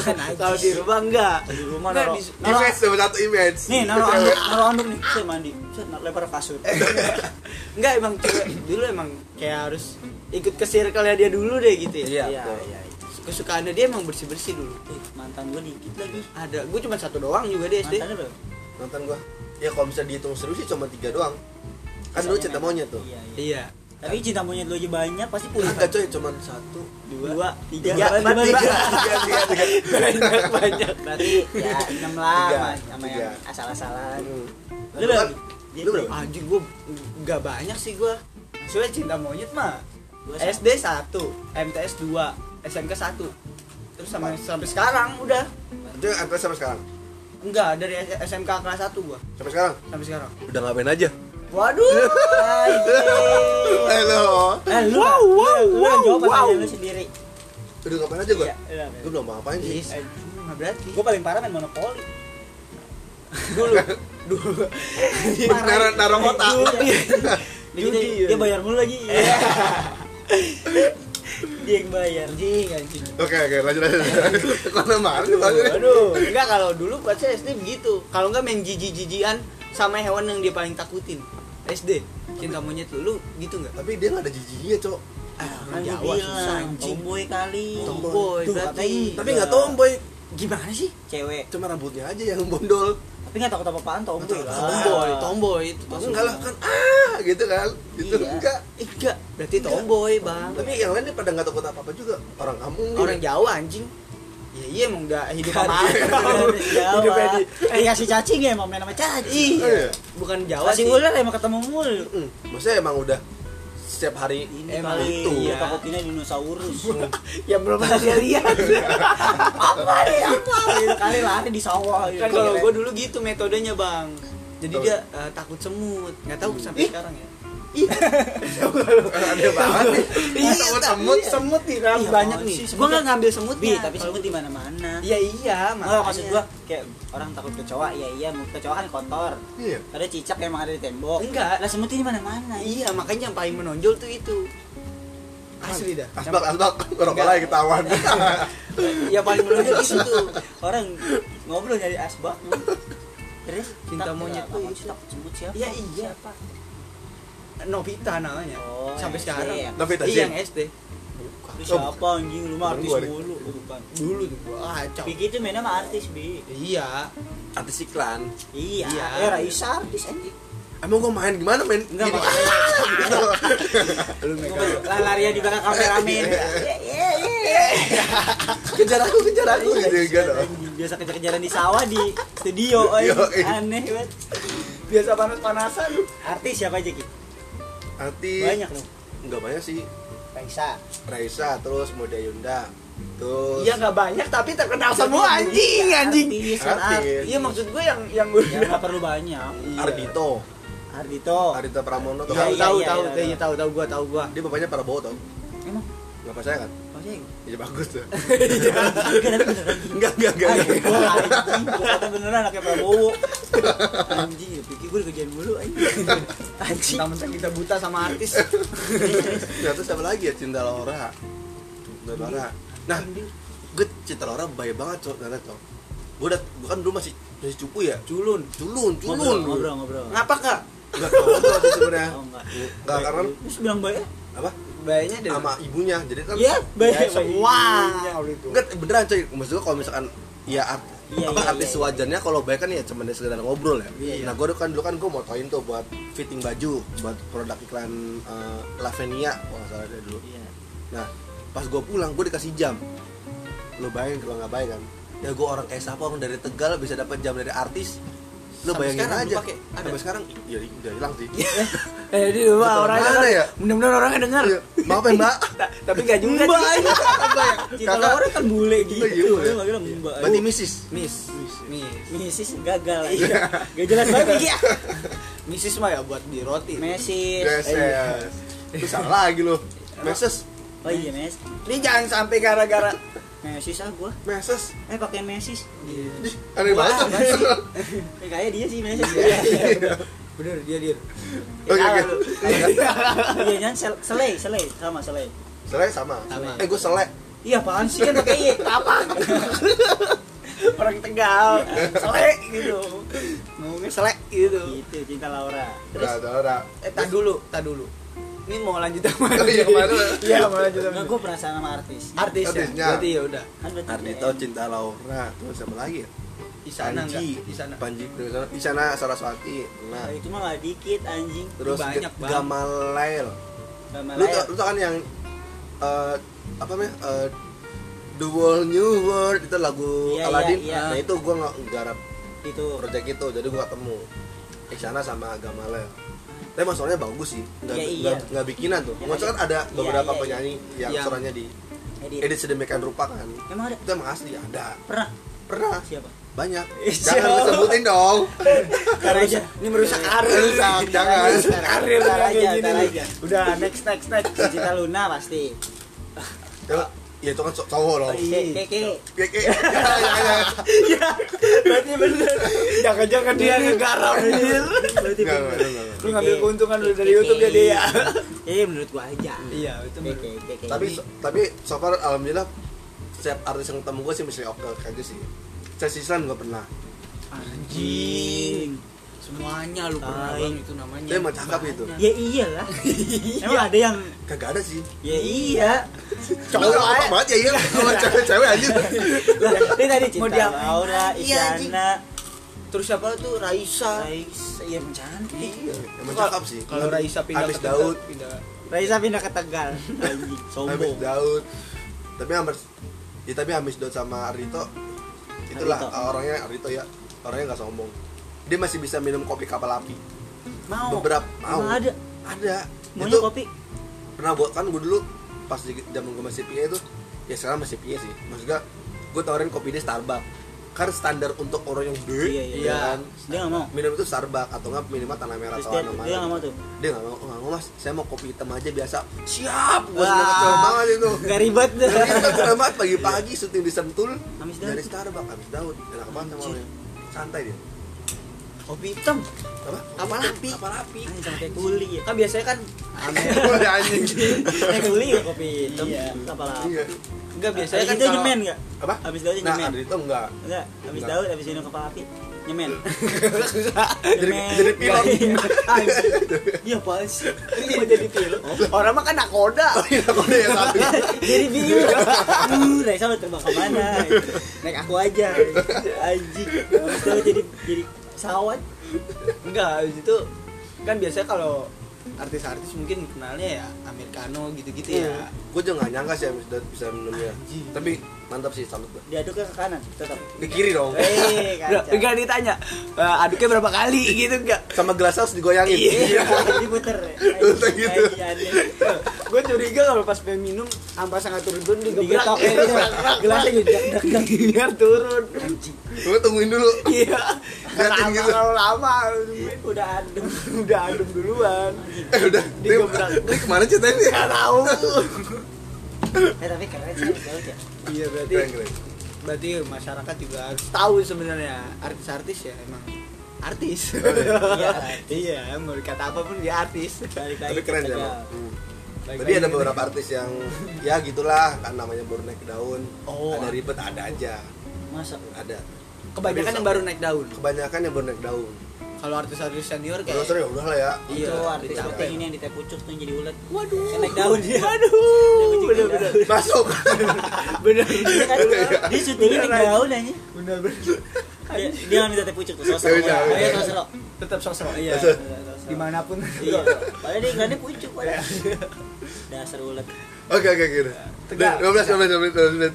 Speaker 3: Kan aja
Speaker 1: kalau di
Speaker 3: sih.
Speaker 1: rumah enggak
Speaker 3: Di rumah
Speaker 1: Nggak,
Speaker 3: naro.
Speaker 1: di-
Speaker 3: naro-
Speaker 4: image sama satu image
Speaker 3: Nah, Nih, nah. naro
Speaker 4: Cewek.
Speaker 3: anduk, naro anduk nih. Saya mandi. Saya lempar ke kasur.
Speaker 1: enggak emang cewek dulu emang kayak harus ikut ke circle-nya dia dulu deh gitu
Speaker 4: Iya,
Speaker 1: ya
Speaker 4: betul.
Speaker 3: iya.
Speaker 1: kesukaannya dia emang bersih bersih dulu
Speaker 3: Eh, mantan gue dikit lagi.
Speaker 1: ada gue cuma satu doang juga di SD
Speaker 3: Mantannya berapa?
Speaker 4: nonton gue ya kalau bisa dihitung seru sih cuma tiga doang kan
Speaker 3: Misalnya
Speaker 4: dulu cinta
Speaker 3: memang-
Speaker 4: monyet tuh
Speaker 3: Iya, iya.
Speaker 1: iya
Speaker 3: Tapi cinta monyet lu aja banyak pasti pulih.
Speaker 4: enggak coy cuma satu
Speaker 1: dua,
Speaker 3: Dua, tiga,
Speaker 4: Ya,
Speaker 3: Banyak,
Speaker 4: tiga,
Speaker 3: banyak.
Speaker 4: tiga, tiga, tiga.
Speaker 1: banyak banyak
Speaker 3: Berarti ya enam lah
Speaker 4: Tiga,
Speaker 3: sama- sama
Speaker 4: tiga.
Speaker 3: yang asal-asalan.
Speaker 4: Hmm.
Speaker 3: Lu
Speaker 4: Nah,
Speaker 3: berapa?
Speaker 4: lu berapa?
Speaker 1: anjing gue nggak banyak sih gue soalnya cinta monyet mah
Speaker 3: Gua sama.
Speaker 1: SD 1 MTS 2 SMK 1 terus sama sampai sekarang udah
Speaker 4: itu MTS sampai sekarang
Speaker 1: enggak dari S- SMK kelas 1 gua
Speaker 4: sampai sekarang
Speaker 1: sampai sekarang
Speaker 4: udah ngapain aja
Speaker 1: waduh
Speaker 4: halo
Speaker 3: Eh, lu
Speaker 1: Wow,
Speaker 3: lu-
Speaker 1: wow,
Speaker 3: lu yang
Speaker 1: wow,
Speaker 3: jawab pertanyaan
Speaker 1: wow.
Speaker 3: lu sendiri.
Speaker 4: udah ngapain aja gue
Speaker 3: Iya, iya.
Speaker 4: gue belum ngapain sih
Speaker 1: Is, nggak berarti
Speaker 3: Gue paling parah main monopoli.
Speaker 1: dulu dulu
Speaker 3: Iya.
Speaker 4: Naro- naro kotak.
Speaker 3: Dia,
Speaker 1: Judi,
Speaker 3: dia,
Speaker 1: ya.
Speaker 3: dia bayar mulu lagi. dia yang bayar.
Speaker 1: anjing anjing
Speaker 4: Oke oke lanjut lanjut. Kemana mana lanjut.
Speaker 1: Waduh, enggak kalau dulu pas saya SD begitu. Kalau enggak main jiji-jijian sama hewan yang dia paling takutin. SD, cinta monyet lu, lu gitu enggak?
Speaker 4: Tapi dia nggak ada jijinya cok.
Speaker 1: Ah, orang
Speaker 3: Kan gue
Speaker 1: Jawa susah
Speaker 3: bilang,
Speaker 1: anjing.
Speaker 3: tomboy kali.
Speaker 4: Tomboy.
Speaker 1: Tomboy,
Speaker 3: Tuh,
Speaker 1: berarti.
Speaker 3: katanya.
Speaker 4: Tapi nggak tomboy.
Speaker 1: gimana sih?
Speaker 3: Cewek.
Speaker 4: Cuma rambutnya aja yang bondol.
Speaker 3: Tapi gak takut apa-apaan tomboy lah.
Speaker 1: Tomboy, tomboy itu
Speaker 4: Enggak lah kan ah gitu kan. Itu
Speaker 3: Iya.
Speaker 4: enggak.
Speaker 1: Eh, Enggak, berarti tomboy, Bang.
Speaker 4: Tapi yang lainnya pada nggak takut apa apa juga. Orang kampung. nih.
Speaker 1: Orang Jawa anjing. Ya iya emang enggak hidup
Speaker 3: Kan
Speaker 1: sama
Speaker 3: dari Jawa.
Speaker 1: Hidupnya di
Speaker 3: Eh, kasih cacing ya emang main sama cacing.
Speaker 4: Iya.
Speaker 1: bukan Jawa
Speaker 3: Kasih
Speaker 1: sih.
Speaker 3: ular emang ketemu mulu.
Speaker 4: Mm, Maksudnya emang udah setiap hari
Speaker 3: Ini
Speaker 1: Emang
Speaker 3: kali
Speaker 1: itu.
Speaker 3: dia takutinnya dinosaurus.
Speaker 1: Ya belum pernah dia lihat.
Speaker 3: apa nih? Apa? Gitu kali lari di sawah gitu.
Speaker 1: kan kalau gue dulu gitu metodenya bang jadi
Speaker 4: Betul.
Speaker 1: dia eh, takut semut nggak tahu sampai
Speaker 3: Ih.
Speaker 1: sekarang ya
Speaker 4: ada banget nih.
Speaker 1: Iya,
Speaker 4: Semut
Speaker 1: tak-
Speaker 4: semut
Speaker 1: iya.
Speaker 4: semut.
Speaker 1: semut nih kan
Speaker 3: Iya,
Speaker 1: banyak
Speaker 3: apaan
Speaker 1: nih
Speaker 3: sih, semut
Speaker 1: gue nggak
Speaker 3: tuh-
Speaker 1: ngambil semut
Speaker 3: Bi, tapi semut di mana-mana.
Speaker 1: iya iya
Speaker 3: Nggak, maksud gua kayak orang takut kecoa, ya iya, kecoa kan kotor.
Speaker 4: Iya.
Speaker 3: Ada cicak emang ada di tembok.
Speaker 1: Enggak.
Speaker 3: lah semut ini mana-mana.
Speaker 1: iya makanya yang paling menonjol tuh itu asli dah
Speaker 4: Asbak asbak. Orang lain ketahuan.
Speaker 3: Iya,
Speaker 1: yang paling menonjol itu tuh
Speaker 3: Orang ngobrol nyari asbak. Terus
Speaker 1: Cinta
Speaker 3: tak,
Speaker 1: monyet
Speaker 3: tak,
Speaker 1: tuh
Speaker 3: tak,
Speaker 1: itu.
Speaker 3: tak, semut siapa?
Speaker 1: Iya, iya.
Speaker 3: Siapa?
Speaker 1: Novita namanya
Speaker 3: Oh,
Speaker 1: sampai
Speaker 3: SD
Speaker 1: sekarang
Speaker 3: ya.
Speaker 4: Tapi tadi.
Speaker 1: iya yang SD
Speaker 3: Lu siapa anjing lu mah artis
Speaker 4: Bukan gua,
Speaker 3: mulu. Oh, bukan.
Speaker 1: dulu tuh gua kacau
Speaker 3: Piki itu mainnya sama artis, Bi.
Speaker 1: iya
Speaker 4: Artis iklan.
Speaker 3: Iya,
Speaker 1: Iya.
Speaker 3: eh Raisa artis anjing.
Speaker 4: Emang gue main gimana main?
Speaker 3: Enggak,
Speaker 4: Gini.
Speaker 3: maksudnya-
Speaker 1: lu megang
Speaker 3: Lah larinya di belakang kameramen. Iya, iya, iya.
Speaker 4: kejar aku kejar aku gitu enggak dong.
Speaker 3: Biasa kejar-kejaran di sawah di studio. oi.
Speaker 4: Yoi.
Speaker 3: Aneh banget.
Speaker 1: biasa panas panasan
Speaker 3: Artis siapa aja, Ki?
Speaker 4: Artis.
Speaker 3: Banyak loh.
Speaker 4: Enggak banyak sih.
Speaker 3: Raisa.
Speaker 4: Raisa terus Moda Yunda terus
Speaker 1: iya nggak banyak tapi terkenal semua anjing anjing
Speaker 3: Artis,
Speaker 4: Artis.
Speaker 3: artis.
Speaker 1: Iya maksud gue yang yang gue
Speaker 3: Ya nggak perlu banyak.
Speaker 4: Ardito
Speaker 3: Ardito.
Speaker 4: Ardito Pramono tau
Speaker 1: Tahu
Speaker 3: Iya,
Speaker 4: kan?
Speaker 1: tahu
Speaker 3: iya,
Speaker 1: tahu
Speaker 3: iya,
Speaker 1: iya,
Speaker 3: iya.
Speaker 1: tahu tahu gua tahu gua.
Speaker 4: dia bapaknya Prabowo tau
Speaker 3: Emang
Speaker 4: bapak saya kan
Speaker 3: Maksudnya gua.
Speaker 4: ya bagus tuh
Speaker 3: Enggak, tapi beneran.
Speaker 4: enggak enggak enggak
Speaker 3: Ay,
Speaker 4: enggak.
Speaker 3: gua anjing, gua kata beneran anaknya Prabowo. Anjing, ya pikir gue dikerjain mulu anjing. Anjing.
Speaker 1: Mentang-mentang kita buta sama artis.
Speaker 4: Nah terus siapa lagi ya Cinta Laura Cinta Laura Nah gue Cinta Laura bahaya banget cok Ternyata cok Gue udah Gue kan dulu masih Masih cupu ya
Speaker 1: Culun.
Speaker 4: Culun
Speaker 3: Ngobrol,
Speaker 4: Culun
Speaker 3: ngobrol, ngobrol.
Speaker 1: Ngapa kak?
Speaker 4: Gak tau itu sebenernya
Speaker 3: Oh, enggak.
Speaker 4: Gak karena
Speaker 3: Terus bilang baik.
Speaker 4: Apa
Speaker 1: Bayarnya dari
Speaker 4: Sama ibunya Jadi kan
Speaker 3: Iya, baik.
Speaker 1: semua. gitu.
Speaker 4: Enggak beneran coy Maksud gue kalau misalkan Ya art,
Speaker 3: Iya,
Speaker 4: apa
Speaker 3: iya,
Speaker 4: artis
Speaker 3: iya,
Speaker 4: wajannya kalau baik kan ya cuman dari sekedar ngobrol ya.
Speaker 3: Iya, iya.
Speaker 4: Nah gue kan dulu kan gue motoin tuh buat fitting baju buat produk iklan eh, Lavenia kalau nggak salah dia dulu.
Speaker 3: Iya.
Speaker 4: Nah, pas gue pulang gue dikasih jam. Lo bayangin kalau nggak bayangin kan? Ya gue orang kayak siapa orang dari Tegal bisa dapat jam dari artis. Lo
Speaker 1: Sampai
Speaker 4: bayangin
Speaker 1: sekarang
Speaker 4: aja.
Speaker 1: lu pakai? Ada?
Speaker 4: Sampai sekarang ya udah hilang sih.
Speaker 1: Eh, jadi wah,
Speaker 4: Betul.
Speaker 1: orangnya
Speaker 4: Mana
Speaker 1: dengar.
Speaker 4: ya?
Speaker 1: Mudah-mudahan orangnya dengar.
Speaker 4: Iya, Maaf ya Mbak.
Speaker 1: Ta- Tapi gak juga.
Speaker 3: Mbak,
Speaker 1: Ci.
Speaker 3: iya. Cinta
Speaker 4: Kakak.
Speaker 3: Laura kan bule gitu.
Speaker 4: Iya, iya.
Speaker 3: Dia manggilnya Mbak.
Speaker 4: Berarti Mrs.
Speaker 1: Miss, Miss,
Speaker 3: Misis gagal. Iya. Gak jelas banget Miki.
Speaker 1: Missis mah ya buat di roti.
Speaker 3: Mesis. Iya.
Speaker 4: Meses. Itu salah lagi lo. Meses.
Speaker 3: Oh iya, Mes.
Speaker 1: Ini jangan sampai gara-gara
Speaker 3: Mesis ah gua.
Speaker 4: Meses.
Speaker 3: Eh pakai Mesis.
Speaker 1: Iya.
Speaker 4: Ih, Aneh
Speaker 3: Wah,
Speaker 4: banget.
Speaker 3: apa sih? Eh, kayak dia sih Mesis. Iya.
Speaker 1: Bener dia dia.
Speaker 4: Oke oke.
Speaker 3: Iya, nyan sel- selai, selai sama selai.
Speaker 4: Selek sama.
Speaker 1: Sama.
Speaker 4: Eh gue selek.
Speaker 3: Iya, apaan sih kan pakai iya. Apa?
Speaker 1: Orang Tegal. Selek gitu. Ngomongnya selek gitu.
Speaker 3: Gitu, cinta Laura.
Speaker 4: Nah,
Speaker 3: Terus
Speaker 4: Dora.
Speaker 1: Eh, tak dulu, tak dulu. Ini mau lanjut sama
Speaker 4: Oh, iya, kemana?
Speaker 1: Iya, mau lanjut sama
Speaker 3: Enggak, gue penasaran sama artis.
Speaker 1: Artis ya.
Speaker 4: Artisnya.
Speaker 1: Berarti ya udah.
Speaker 3: Kan berarti
Speaker 4: Ardito oh, Cinta Laura. Terus siapa lagi ya?
Speaker 1: Isana
Speaker 4: Panji.
Speaker 1: enggak? Isana.
Speaker 4: Panji. Isana Saraswati. Nah.
Speaker 3: Nah, itu mah gak dikit anjing. ya,
Speaker 4: terus
Speaker 1: Banyak
Speaker 4: banyak
Speaker 1: banget.
Speaker 4: Gamalael.
Speaker 3: Sama
Speaker 4: Lu tau, lu tau kan yang eh, apa namanya? eh, The World New World itu lagu
Speaker 3: Iya,
Speaker 4: Aladdin.
Speaker 3: iya, iya.
Speaker 4: Nah, itu gua nggak garap
Speaker 3: itu.
Speaker 4: project itu, jadi gua ketemu Isyana sama Gamalael. Tapi masalahnya bagus sih. Nggak
Speaker 3: Iya, iya.
Speaker 4: nggak- nggak bikinan tuh.
Speaker 3: Iya,
Speaker 4: Maksudnya kan ada
Speaker 3: iya,
Speaker 4: beberapa
Speaker 3: iya, iya.
Speaker 4: penyanyi yang
Speaker 1: Yang-
Speaker 4: suaranya di
Speaker 3: Edit.
Speaker 4: edit sedemikian rupa kan.
Speaker 3: Emang ada
Speaker 4: Itu emang asli ada.
Speaker 3: pernah
Speaker 4: Pernah
Speaker 3: siapa?
Speaker 4: banyak.
Speaker 3: Iya.
Speaker 1: Ih,
Speaker 4: Jangan
Speaker 1: siapa?
Speaker 4: lu sebutin dong.
Speaker 3: Tar aja.
Speaker 1: Ini merusak
Speaker 4: Iya.
Speaker 1: karir.
Speaker 4: Rusak, jangan.
Speaker 1: Karir
Speaker 3: Tar
Speaker 1: kayak
Speaker 3: aja,
Speaker 1: gini
Speaker 3: tar
Speaker 1: nih.
Speaker 3: aja.
Speaker 1: Udah next next next.
Speaker 3: Cinta Luna pasti.
Speaker 4: Ya, ya itu kan cow- cowok loh.
Speaker 1: Iya.
Speaker 3: Keke.
Speaker 4: Keke. Jangan, jangan.
Speaker 1: Iya. Berarti bener. Jangan-jangan
Speaker 4: Iya.
Speaker 1: dia ngegarap anjir.
Speaker 3: Berarti
Speaker 4: Enggak, enggak, enggak, enggak.
Speaker 1: Lu ngambil keuntungan lu dari YouTube ya dia.
Speaker 3: Iya, menurut gua aja.
Speaker 1: Iya, itu bener.
Speaker 3: Keke, keke.
Speaker 4: tapi tapi so far alhamdulillah setiap artis yang ketemu gue sih mesti oke aja sih Chelsea Islan gak pernah
Speaker 1: Anjing. Semuanya lu pernah
Speaker 3: Tai.
Speaker 1: bang itu namanya.
Speaker 4: Dia emang cakep itu.
Speaker 3: Ya iyalah. Emang ada yang
Speaker 4: kagak ada sih
Speaker 3: Iya. Ya iya.
Speaker 1: Cowok
Speaker 4: Nah,
Speaker 1: aja.
Speaker 4: apa banget ya iya sama cewek-cewek aja
Speaker 3: Lah, ini tadi
Speaker 1: Mau
Speaker 3: cinta
Speaker 1: diapain
Speaker 3: Laura,
Speaker 1: lagi, anjing?
Speaker 3: Isyana,
Speaker 1: Terus siapa tuh Raisa?
Speaker 3: Ais, iya emang cantik.
Speaker 4: emang cakep sih
Speaker 1: Kalau Raisa pindah
Speaker 4: Abis
Speaker 1: ke Tegal,
Speaker 4: Daud
Speaker 1: pindah.
Speaker 3: Raisa pindah ke Tegal. Iya. Anjing,
Speaker 4: Amis
Speaker 3: sombong.
Speaker 4: Daud tapi Amis ya tapi Amis Daud sama Arito itulah
Speaker 3: Ardhito.
Speaker 4: orangnya Arito ya orangnya nggak sombong dia masih bisa minum kopi kapal api
Speaker 3: Mau.
Speaker 4: beberapa mau
Speaker 3: Emang ada.
Speaker 4: ada
Speaker 3: Maunya
Speaker 4: itu
Speaker 3: kopi.
Speaker 4: pernah gua kan gue dulu pas di zaman gue masih PA itu ya sekarang masih PA sih maksudnya gue tawarin kopi di Starbucks kan standar untuk orang yang gede
Speaker 3: Iya, iya.
Speaker 4: ya kan?
Speaker 3: Dia nggak mau.
Speaker 4: minum itu Starbucks atau nggak minimal tanah merah
Speaker 3: Terus
Speaker 4: atau
Speaker 3: dia,
Speaker 4: warna
Speaker 3: dia nggak
Speaker 4: merah
Speaker 3: mau tuh.
Speaker 4: dia nggak mau "Oh, nggak mau mas saya mau kopi hitam aja biasa siap gue
Speaker 3: Wah.
Speaker 4: seneng kecewa banget itu
Speaker 3: Gak ribet deh.
Speaker 4: Jadi kita keren banget pagi-pagi syuting di Sentul
Speaker 3: Amis Daud.
Speaker 4: dari Starbucks habis Daud enak banget sama
Speaker 3: Anjir.
Speaker 4: orangnya santai dia
Speaker 1: Kopi hitam.
Speaker 4: apa
Speaker 1: Kapal api.
Speaker 4: kapal api
Speaker 3: Anjing sama kayak kuli ya.
Speaker 1: Kan biasanya kan Amer.
Speaker 4: udah anjing
Speaker 3: Kayak kuli ya kopi hitam.
Speaker 1: Iya.
Speaker 3: Apa lah.
Speaker 4: Iya.
Speaker 1: Enggak biasanya kan
Speaker 3: itu
Speaker 1: kalau-
Speaker 3: nyemen nggak?
Speaker 4: apa
Speaker 3: Abis Daud
Speaker 4: nah
Speaker 3: nyemen.
Speaker 4: Arito enggak
Speaker 3: Enggak, habis
Speaker 4: Enggak.
Speaker 3: Daud habis minum kepala api nyemen.
Speaker 4: jadi
Speaker 3: Nyemen.
Speaker 4: jadi pilot
Speaker 3: Anjing. Iya apaan sih? Mau jadi pilot.
Speaker 1: Orang mah kan nakoda.
Speaker 4: Iya, kode ya tapi.
Speaker 3: Jadi bingung. Uh, Raisa lu terbang ke mana? Naik
Speaker 1: Ya.
Speaker 3: aku aja. Anjing. Habis Daud jadi jadi pesawat.
Speaker 1: Enggak, habis itu kan biasanya kalau artis-artis mungkin kenalnya ya Americano gitu-gitu ya.
Speaker 4: Gue juga gak nyangka sih Amis Daud bisa minumnya.
Speaker 1: Anjing.
Speaker 4: Tapi mantap sih salut gue.
Speaker 3: Diaduknya ke kanan tetap.
Speaker 4: Di kiri dong.
Speaker 3: Eh,
Speaker 1: Udah,
Speaker 3: kacau.
Speaker 1: Enggak ditanya, "Eh, aduknya berapa kali gitu enggak.
Speaker 4: Sama gelasnya harus digoyangin.
Speaker 3: Iya, diputer.
Speaker 4: Puter gitu.
Speaker 3: Anjing, anjing.
Speaker 1: Gue curiga kalau pas pengen minum ampas sangat turun turun digebrak.
Speaker 3: Digetok ya, gelasnya juga
Speaker 1: Biar turun.
Speaker 4: Gue tungguin dulu.
Speaker 1: Iya.
Speaker 4: Ngeliatin
Speaker 1: Lama
Speaker 4: gitu.
Speaker 1: kalau lama
Speaker 3: udah adem.
Speaker 1: udah adem duluan.
Speaker 4: Eh udah. Dia,
Speaker 1: Digebrak.
Speaker 4: dia kemana ceritanya?
Speaker 1: Enggak tahu.
Speaker 3: Eh tapi keren sih Daud ya.
Speaker 1: iya
Speaker 4: keren
Speaker 1: berarti
Speaker 4: keren
Speaker 1: berarti masyarakat juga harus tahu sebenarnya artis-artis ya emang artis
Speaker 3: Iya.
Speaker 1: iya mau dikata apapun dia artis
Speaker 3: Balik lagi
Speaker 4: tapi keren
Speaker 3: ke
Speaker 4: ya
Speaker 3: Tegal.
Speaker 4: Bang. Hmm. Tadi ada beberapa artis yang ya gitulah kan namanya baru naik daun.
Speaker 1: Oh.
Speaker 4: Ada ribet ada aja.
Speaker 3: Masa?
Speaker 4: Ada.
Speaker 1: kebanyakan yang baru naik daun
Speaker 4: Kebanyakan yang baru naik daun.
Speaker 1: kalau artis-artis senior
Speaker 4: Kalau
Speaker 1: kayak
Speaker 4: sering ya udahlah ya.
Speaker 1: Iya,
Speaker 3: Itu artis
Speaker 1: dicapek.
Speaker 3: artis ini yang di teh pucuk tuh yang jadi ulet.
Speaker 1: waduh
Speaker 3: Kan naik daun
Speaker 1: iya.
Speaker 3: dia.
Speaker 1: waduh
Speaker 3: Dia
Speaker 1: bener
Speaker 3: naik
Speaker 1: bener
Speaker 3: daun.
Speaker 4: Masuk.
Speaker 1: bener
Speaker 3: Iya kan? Dia syutingnya naik
Speaker 1: Beneran.
Speaker 3: daun aja.
Speaker 1: bener bener
Speaker 3: Dia, dia ngambil teh pucuk tuh sosro.
Speaker 4: Iya, iya,
Speaker 3: Oh,
Speaker 4: iya.
Speaker 3: iya sosro.
Speaker 1: tetap sosok
Speaker 3: Iya.
Speaker 1: iya
Speaker 3: sosro.
Speaker 1: dimanapun
Speaker 3: Iya. Padahal dia iklannya pucuk padahal. Dasar ulet.
Speaker 4: Oke oke gitu.
Speaker 1: Tegal.
Speaker 4: 15 15 menit 15 menit.
Speaker 3: Nah, ulet.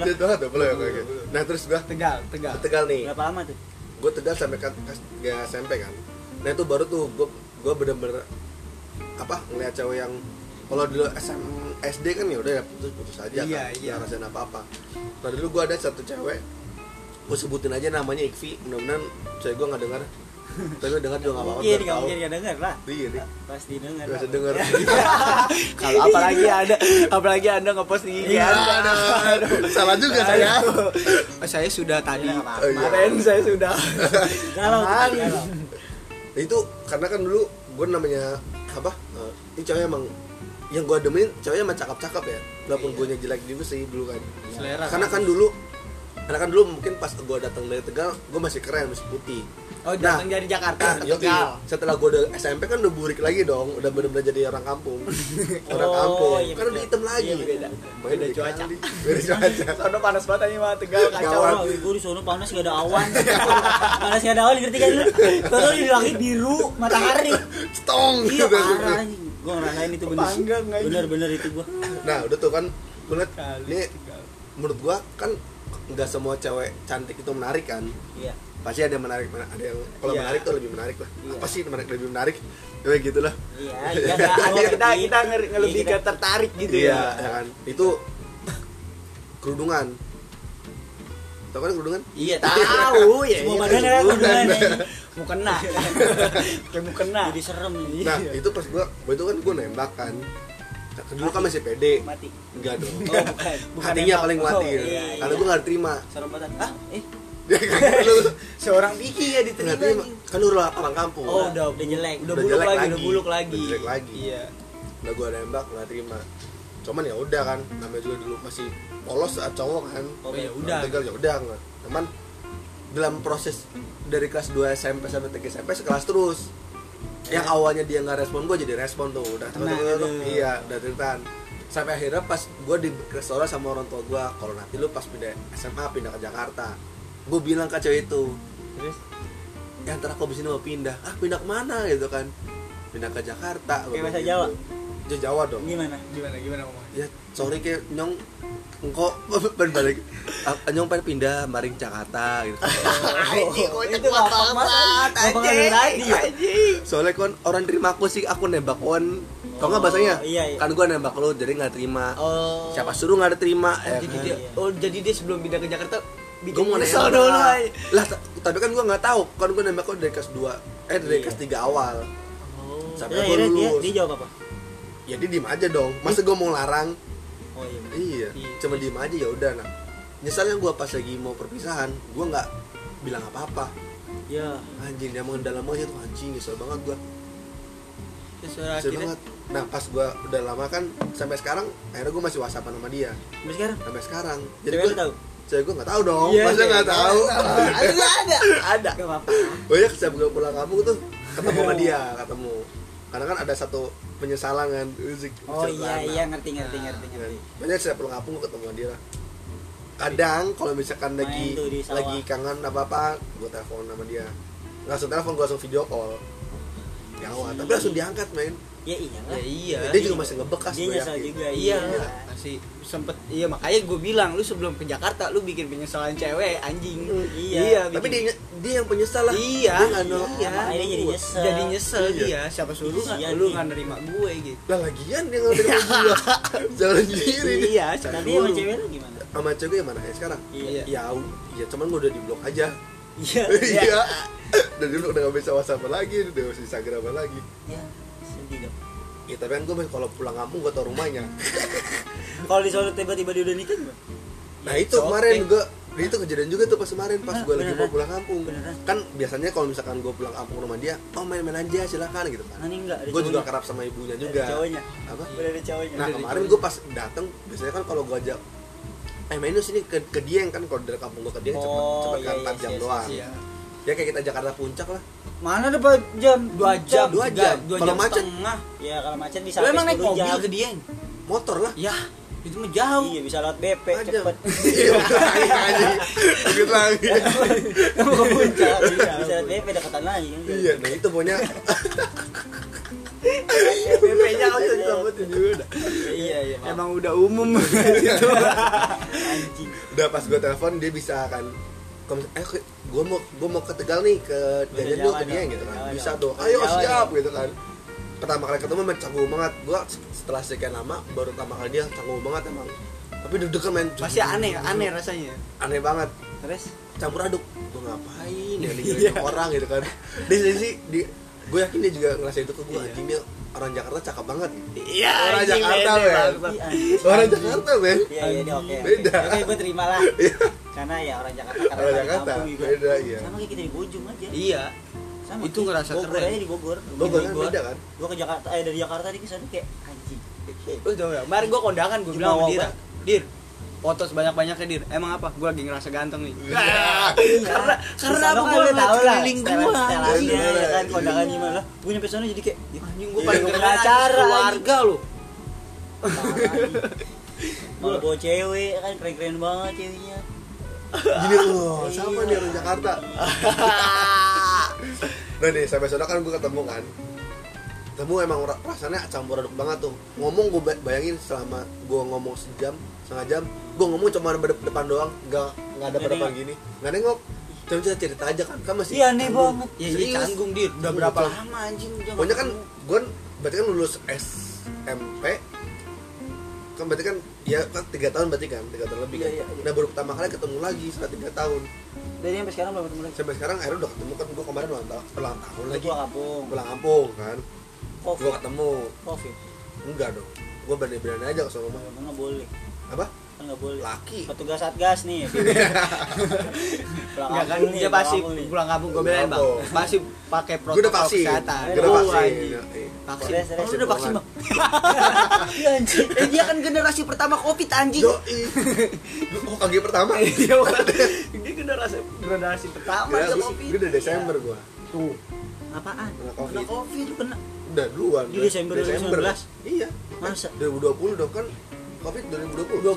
Speaker 4: Jadi banget ya, boleh oke oke. Nah terus gua
Speaker 1: tegal tegal
Speaker 4: tegal nih.
Speaker 3: Berapa lama tuh?
Speaker 4: Gua tegal sampai kan gak SMP kan. Nah itu baru tuh gua gua bener-bener apa ngeliat cewek yang kalau dulu SM, SD kan ya udah ya putus putus aja
Speaker 1: Iya,
Speaker 4: kan
Speaker 1: iya.
Speaker 4: nggak ngerasain apa apa nah dulu gua ada satu cewek gua sebutin aja namanya Ikvi mudah-mudahan cewek gua nggak dengar tapi dengar juga nggak apa-apa
Speaker 3: Mungkin
Speaker 4: biar
Speaker 3: nggak
Speaker 4: tahu.
Speaker 3: mungkin ya. nggak denger lah.
Speaker 4: Iya, iya.
Speaker 3: Pasti denger.
Speaker 4: Nggak
Speaker 3: lah.
Speaker 4: usah denger
Speaker 1: kalau apalagi ada apalagi anda ngepost di IG
Speaker 4: Iya,
Speaker 1: Anda.
Speaker 4: aduh. salah juga saya
Speaker 1: Aduh. saya sudah tadi
Speaker 3: Iya, nggak apa-apa.
Speaker 4: Oh, iya.
Speaker 1: kemarin saya sudah
Speaker 3: Galau tuh,
Speaker 1: Apaan?
Speaker 3: galau.
Speaker 4: Nah, itu karena kan dulu gue namanya apa eh, ini cewek emang yang gue demenin ceweknya emang cakep-cakep ya walaupun
Speaker 1: Iya.
Speaker 4: gue jelek juga sih dulu kan
Speaker 1: selera
Speaker 4: karena kan dulu karena kan dulu mungkin pas gue datang dari tegal gue masih keren masih putih
Speaker 1: oh
Speaker 4: Nah,
Speaker 1: datang dari Jakarta
Speaker 3: Nah,
Speaker 4: Yoi.
Speaker 1: tegal
Speaker 4: setelah gue udah SMP kan udah burik lagi dong udah bener-bener jadi orang kampung orang
Speaker 3: Oh,
Speaker 4: kampung
Speaker 3: iya
Speaker 4: kan udah
Speaker 3: betul.
Speaker 4: hitam lagi
Speaker 3: Iya, beda.
Speaker 4: Main
Speaker 1: Beda
Speaker 4: dikali.
Speaker 1: cuaca.
Speaker 4: beda cuaca
Speaker 1: sono panas banget ini mah tegal kacau
Speaker 4: Kawan.
Speaker 3: Wah, gue di sono panas gak ada awan. panas gak ada awan ngerti kan lu? Terus di langit biru matahari.
Speaker 4: Cetong.
Speaker 3: Iya parah anjing. Gue ngerasain itu bener.
Speaker 1: Panggang, anjing.
Speaker 3: Bener-bener itu gue.
Speaker 4: nah udah tuh kan gue liat
Speaker 1: Kali
Speaker 4: ini
Speaker 1: Tegal.
Speaker 4: menurut gue kan nggak semua cewek cantik itu menarik kan
Speaker 3: Iya.
Speaker 4: pasti ada yang menarik mana- ada yang kalau
Speaker 1: Iya.
Speaker 4: menarik tuh lebih menarik lah
Speaker 3: Iya.
Speaker 4: apa sih yang menarik lebih menarik kayak gitulah
Speaker 3: Iya,
Speaker 1: Ya,
Speaker 3: iya.
Speaker 1: nggak, awal
Speaker 3: Iya,
Speaker 1: kita
Speaker 3: iya.
Speaker 1: kita nge-
Speaker 3: Iya,
Speaker 1: lebih
Speaker 3: kita-
Speaker 1: ke tertarik gitu
Speaker 4: iya
Speaker 1: ya
Speaker 4: ya kan itu kerudungan tau kan kerudungan
Speaker 1: iya tahu ya
Speaker 3: Semua
Speaker 1: iya.
Speaker 3: badan ada kerudungan, anjing.
Speaker 1: mau kena kayak mau kena
Speaker 3: Jadi serem nih.
Speaker 4: nah itu pas gua gua itu kan gua nembak kan dulu kan masih pede
Speaker 3: Mati.
Speaker 4: enggak dong
Speaker 3: Oh, bukan. bukan
Speaker 4: hatinya
Speaker 3: nembak.
Speaker 4: paling
Speaker 3: Oh,
Speaker 4: mati
Speaker 3: iya, iya.
Speaker 4: karena gua nggak terima
Speaker 3: serem banget. Ah, eh.
Speaker 4: dia kan lu
Speaker 1: seorang Diki ya diterima
Speaker 4: nggak terima
Speaker 1: anjing.
Speaker 4: kan lu orang kampung
Speaker 1: Oh,
Speaker 3: udah udah jelek.
Speaker 1: udah,
Speaker 4: Udah
Speaker 1: buluk
Speaker 4: jelek
Speaker 1: lagi,
Speaker 4: lagi.
Speaker 1: udah buluk lagi
Speaker 4: Udah jelek lagi.
Speaker 1: iya
Speaker 4: udah gua nembak nggak terima cuman ya udah kan namanya juga dulu masih polos saat cowok kan
Speaker 1: oh ya udah
Speaker 4: udah tegal ya udah nggak. cuman dalam proses dari kelas 2 SMP sampai 3 SMP sekelas terus
Speaker 1: Eh.
Speaker 4: yang awalnya dia nggak respon gue jadi respon tuh
Speaker 1: Nah,
Speaker 4: udah
Speaker 3: Tenang,
Speaker 4: tuh, tuh, tuh,
Speaker 3: aduh.
Speaker 4: iya udah tentan sampai akhirnya pas gue di restoran sama orang tua gue kalau nanti lu pas pindah SMA pindah ke Jakarta gue bilang ke cewek itu
Speaker 1: terus
Speaker 4: yang antara aku sini mau pindah ah pindah kemana gitu kan pindah ke
Speaker 3: Kayak
Speaker 4: Jakarta gua bilang
Speaker 3: bahasa
Speaker 4: gitu.
Speaker 3: Jawa?
Speaker 4: Ya, Jawa dong
Speaker 3: Gimana?
Speaker 1: gimana gimana ngomongnya
Speaker 4: ya sorry ke nyong engkau pengen balik Ah, nyong pengen pindah maring Jakarta gitu
Speaker 1: Anjing, kocak
Speaker 3: itu
Speaker 1: kuat
Speaker 3: gampang banget. Gampang dari tadi ya.
Speaker 1: anjing.
Speaker 4: soalnya kon orang terima aku sih aku nembak kon tau nggak bahasanya
Speaker 3: Oh, iya, iya.
Speaker 4: kan gua nembak lo jadi nggak terima
Speaker 1: Oh.
Speaker 4: siapa suruh nggak terima
Speaker 1: Oh,
Speaker 4: ya
Speaker 1: jadi
Speaker 4: kan?
Speaker 1: dia, oh jadi dia sebelum pindah ke Jakarta bikin
Speaker 4: Gua mau
Speaker 1: nyesel
Speaker 4: nembak
Speaker 1: dulu. ay.
Speaker 4: lah ta- tapi kan gua nggak tahu kan gua nembak lo dari kelas 2 eh dari
Speaker 3: Iya.
Speaker 4: kelas 3 awal
Speaker 1: Oh.
Speaker 4: Sampai
Speaker 3: Terus
Speaker 4: gua
Speaker 3: akhirnya dia
Speaker 4: lulus.
Speaker 3: dia jawab apa?
Speaker 4: ya dia diem aja dong masa gua mau larang
Speaker 3: Oh iya. bener.
Speaker 4: iya
Speaker 1: Iya.
Speaker 4: cuma diem aja ya udah nah nyesalnya gua pas lagi mau perpisahan gua nggak bilang apa-apa
Speaker 3: Iya.
Speaker 4: anjing dia mau dalam aja ya tuh anjing nyesel banget gua
Speaker 1: Terus suara
Speaker 4: nyesel
Speaker 1: akhirnya
Speaker 4: banget nah pas gua udah lama kan sampai sekarang akhirnya gua masih whatsappan sama dia
Speaker 3: Sampai sekarang.
Speaker 4: sampai sekarang jadi
Speaker 3: Jadi
Speaker 4: gue
Speaker 3: lu tahu.
Speaker 4: cewek gue nggak tahu dong
Speaker 3: Iya,
Speaker 4: masa
Speaker 3: iya,
Speaker 4: nggak
Speaker 3: iya.
Speaker 4: tahu
Speaker 1: ada ada ada.
Speaker 3: Gak apa-apa.
Speaker 4: banyak setiap gue pulang kampung tuh ketemu sama dia ketemu karena kan ada satu penyesalan kan Uzik,
Speaker 3: Oh
Speaker 4: cerita
Speaker 3: iya
Speaker 4: anak.
Speaker 3: iya ngerti ngerti ngerti
Speaker 4: Iya.
Speaker 3: ngerti.
Speaker 4: banyak setiap pulang kampung gue ketemu sama dia lah kadang kalau misalkan
Speaker 3: Main
Speaker 4: lagi
Speaker 3: tuh di sawah.
Speaker 4: lagi kangen apa apa gue telepon sama dia Nggak langsung telepon gue langsung video call ya
Speaker 3: Iya.
Speaker 4: awal tapi langsung diangkat men
Speaker 3: Ya iya
Speaker 1: Ya
Speaker 3: lah.
Speaker 1: iya.
Speaker 4: dia juga masih ngebekas
Speaker 3: Dia
Speaker 4: gua
Speaker 3: nyesel
Speaker 4: yakin.
Speaker 3: juga.
Speaker 1: Iya, masih sempet. Iya makanya gue bilang lu sebelum ke Jakarta lu bikin penyesalan cewek anjing.
Speaker 3: Iya.
Speaker 4: tapi
Speaker 1: bikin-
Speaker 4: dia dia yang penyesal lah
Speaker 1: Iya,
Speaker 4: Dia nggak nolak.
Speaker 1: iya.
Speaker 3: Makanya jadi nyesel.
Speaker 1: jadi nyesel
Speaker 4: Iya.
Speaker 1: dia siapa suruh lu nggak
Speaker 3: Iya,
Speaker 1: lu
Speaker 3: iya.
Speaker 1: nggak nerima gue gitu.
Speaker 4: lah lagian dia nggak ada gua jalan sendiri dia.
Speaker 1: Iya, siapa
Speaker 3: Nanti
Speaker 1: suruh.
Speaker 3: Iya. sama cewek lu gimana?
Speaker 4: sama cewek yang mana ya sekarang
Speaker 1: Iya.
Speaker 4: ya ya cuman gua udah di blok aja
Speaker 3: Iya.
Speaker 4: iya dan dulu udah gak bisa whatsapp lagi udah gak bisa instagraman lagi
Speaker 3: Iya. Sedih dong.
Speaker 4: ya tapi kan gua masih- kalau pulang kampung gua tau rumahnya
Speaker 3: Kalau di Solo tiba-tiba dia udah nikah gimana?
Speaker 4: Nah itu
Speaker 1: Sok,
Speaker 4: kemarin
Speaker 1: eh.
Speaker 4: gue itu kejadian juga tuh pas kemarin pas
Speaker 3: Bener,
Speaker 4: gue lagi mau
Speaker 3: beneran.
Speaker 4: pulang kampung
Speaker 3: Beneran.
Speaker 4: kan biasanya kalau misalkan gue pulang kampung rumah dia oh main-main aja silakan gitu kan
Speaker 3: Nanti enggak ada
Speaker 4: gue juga
Speaker 3: cowoknya.
Speaker 4: kerap sama ibunya
Speaker 3: Ada
Speaker 4: juga
Speaker 3: cowoknya.
Speaker 4: apa
Speaker 3: Udah ada cowoknya.
Speaker 4: nah
Speaker 3: Udah ada
Speaker 4: kemarin
Speaker 3: cowoknya.
Speaker 4: gue pas dateng biasanya kan kalau gue ajak eh main dong sini ke, ke Dieng kan kalau dari kampung gue ke Dieng cepet
Speaker 3: Oh,
Speaker 4: cepet kan
Speaker 3: iya,
Speaker 4: 4
Speaker 3: iya,
Speaker 4: jam
Speaker 3: iya,
Speaker 4: doang
Speaker 1: Iya.
Speaker 4: ya kayak kita Jakarta puncak lah
Speaker 3: Mana ada Pak? jam?
Speaker 1: Dua jam,
Speaker 4: Dua
Speaker 1: tiga,
Speaker 4: jam.
Speaker 1: dua
Speaker 4: Kalau
Speaker 1: jam
Speaker 4: macet.
Speaker 1: setengah.
Speaker 3: Ya kalau macet bisa
Speaker 1: Lu
Speaker 3: sampai
Speaker 1: emang naik
Speaker 3: 10
Speaker 1: mobil
Speaker 3: jam.
Speaker 1: ke Dieng?
Speaker 4: motor lah
Speaker 1: Ya, itu mah jauh.
Speaker 3: Iya bisa lewat BP
Speaker 4: Empat jam.
Speaker 3: cepet.
Speaker 4: Iya, lagi lagi. Ikut lagi.
Speaker 3: Mau ke puncak bisa. Bisa lewat BP dekatan lagi. kan?
Speaker 4: Iya, nah itu pokoknya
Speaker 1: PP-nya langsung disambetin Iya, juga udah.
Speaker 3: Iya iya. maaf.
Speaker 1: Emang udah umum gitu.
Speaker 3: anjing.
Speaker 4: udah pas gue telepon dia bisa kan kom- eh gue mau gue mau ke Tegal nih ke
Speaker 3: Udah
Speaker 4: jajan dulu
Speaker 3: jalan
Speaker 4: ke dia
Speaker 3: dong,
Speaker 4: gitu kan
Speaker 3: jalan
Speaker 4: bisa
Speaker 3: dong.
Speaker 4: tuh ayo
Speaker 3: Jalan
Speaker 4: siap
Speaker 3: dong.
Speaker 4: gitu kan pertama kali ketemu emang canggung banget gue setelah sekian lama baru pertama kali dia canggung banget emang tapi deg-degan main
Speaker 1: Pasti aneh, aneh rasanya.
Speaker 4: aneh banget
Speaker 1: Terus
Speaker 4: campur aduk gue ngapain ya digilirin orang gitu kan di sisi di gue yakin dia juga ngerasa itu ke gue
Speaker 1: Iya.
Speaker 4: anjing dia orang Jakarta cakep banget
Speaker 1: Iya,
Speaker 4: Orang
Speaker 1: anjing,
Speaker 4: Jakarta,
Speaker 1: beda,
Speaker 4: men.
Speaker 1: Bang.
Speaker 3: Ih, anjing.
Speaker 4: orang Jakarta men
Speaker 3: Iya iya dia oke. oke.
Speaker 4: Beda.
Speaker 3: Oke gue terima lah.
Speaker 4: Iya.
Speaker 3: Karena ya orang Jakarta karena
Speaker 4: orang Jakarta
Speaker 3: kampung juga.
Speaker 4: beda iya
Speaker 3: Sama kayak kita di Bojong aja.
Speaker 1: Iya,
Speaker 3: Sama.
Speaker 1: itu
Speaker 3: kayak
Speaker 1: ngerasa
Speaker 3: Bogor
Speaker 1: keren.
Speaker 3: aja di Bogor.
Speaker 4: Bogor
Speaker 3: Di
Speaker 4: kan beda kan
Speaker 3: Gua ke Jakarta eh dari Jakarta di kesana kayak anjing.
Speaker 1: Lu tau gak? Kemarin gue kondangan, gue
Speaker 3: Cuma
Speaker 1: bilang sama
Speaker 3: wawah
Speaker 1: Dira
Speaker 3: banget.
Speaker 1: Dir, foto sebanyak-banyaknya Dir Emang apa? Gue lagi ngerasa ganteng nih
Speaker 4: Iya.
Speaker 1: Karena karena apa gue
Speaker 3: udah
Speaker 1: ngeliat
Speaker 3: tahu lah
Speaker 1: keliling gue
Speaker 3: setelannya
Speaker 4: Iya.
Speaker 3: ya kan kondangan gimana lah gue nyampe sana jadi kayak ya,
Speaker 1: Anjing gue
Speaker 3: Iya,
Speaker 1: paling
Speaker 3: gua
Speaker 1: keren
Speaker 3: punya acara,
Speaker 1: acara Keluarga lu
Speaker 3: malah bawa cewek kan keren-keren banget ceweknya
Speaker 4: gini loh sama nih orang Jakarta udah nih sampai sana kan gue ketemu kan ketemu emang ra- rasanya campur aduk banget tuh ngomong gue bayangin selama gue ngomong sejam setengah jam gue ngomong cuma ada depan doang nggak nggak ada
Speaker 3: Nggak
Speaker 4: depan
Speaker 3: nengok.
Speaker 4: gini nggak nengok cuma cerita cerita aja kan kan masih
Speaker 3: Iya, aneh
Speaker 4: canggung.
Speaker 3: banget.
Speaker 1: Iya, iya,
Speaker 4: Serius.
Speaker 1: canggung Dir Udah
Speaker 4: Canggung,
Speaker 1: berapa
Speaker 4: canggung.
Speaker 1: lama anjing udah
Speaker 4: pokoknya
Speaker 1: nggak
Speaker 4: kan
Speaker 1: ketemu.
Speaker 4: gue berarti kan lulus SMP kan berarti kan ya kan tiga tahun berarti kan tiga tahun lebih kan
Speaker 3: Iya, iya, iya.
Speaker 4: nah baru pertama kali ketemu lagi setelah tiga tahun
Speaker 3: dari sampai sekarang belum ketemu lagi
Speaker 4: sampai sekarang akhirnya udah ketemu kan gue kemarin ulang tahun ulang tahun
Speaker 3: lagi
Speaker 4: lagi
Speaker 3: gua kampung
Speaker 4: pulang kampung kan
Speaker 1: Oh.
Speaker 4: gue
Speaker 3: covid
Speaker 4: ketemu
Speaker 3: covid
Speaker 4: enggak dong gue berani berani aja ke sama mama
Speaker 3: Emang nggak boleh
Speaker 4: apa
Speaker 3: kan nggak boleh
Speaker 4: laki
Speaker 3: petugas satgas nih
Speaker 1: Enggak kan, dia pasti pulang kampung gue belain
Speaker 4: Pulang
Speaker 1: bang
Speaker 4: kampung.
Speaker 1: Pasti pakai
Speaker 4: gue udah
Speaker 1: protokol
Speaker 4: vaksin
Speaker 1: kesehatan
Speaker 4: gue udah
Speaker 1: Oh,
Speaker 4: vaksin
Speaker 1: anjing.
Speaker 4: Iya.
Speaker 1: Vaksin
Speaker 3: Serius, serius.
Speaker 1: Oh, lu udah vaksin bang?
Speaker 3: iya anjing
Speaker 1: Eh dia kan generasi pertama covid anjing
Speaker 4: Yoi. Lu kok kaki pertama
Speaker 1: Iya, Bang. Dia generasi generasi pertama
Speaker 4: Gila,
Speaker 1: aja
Speaker 4: gua-
Speaker 1: covid Iya.
Speaker 4: gua udah Desember gue
Speaker 1: Tuh Apaan?
Speaker 4: Kena
Speaker 1: Kena
Speaker 4: covid
Speaker 1: covid lu kena
Speaker 4: udah duluan
Speaker 3: Di
Speaker 4: gua.
Speaker 3: Desember 2019?
Speaker 4: iya
Speaker 3: Masa?
Speaker 4: Eh, 2020 dong kan covid 2020
Speaker 1: 20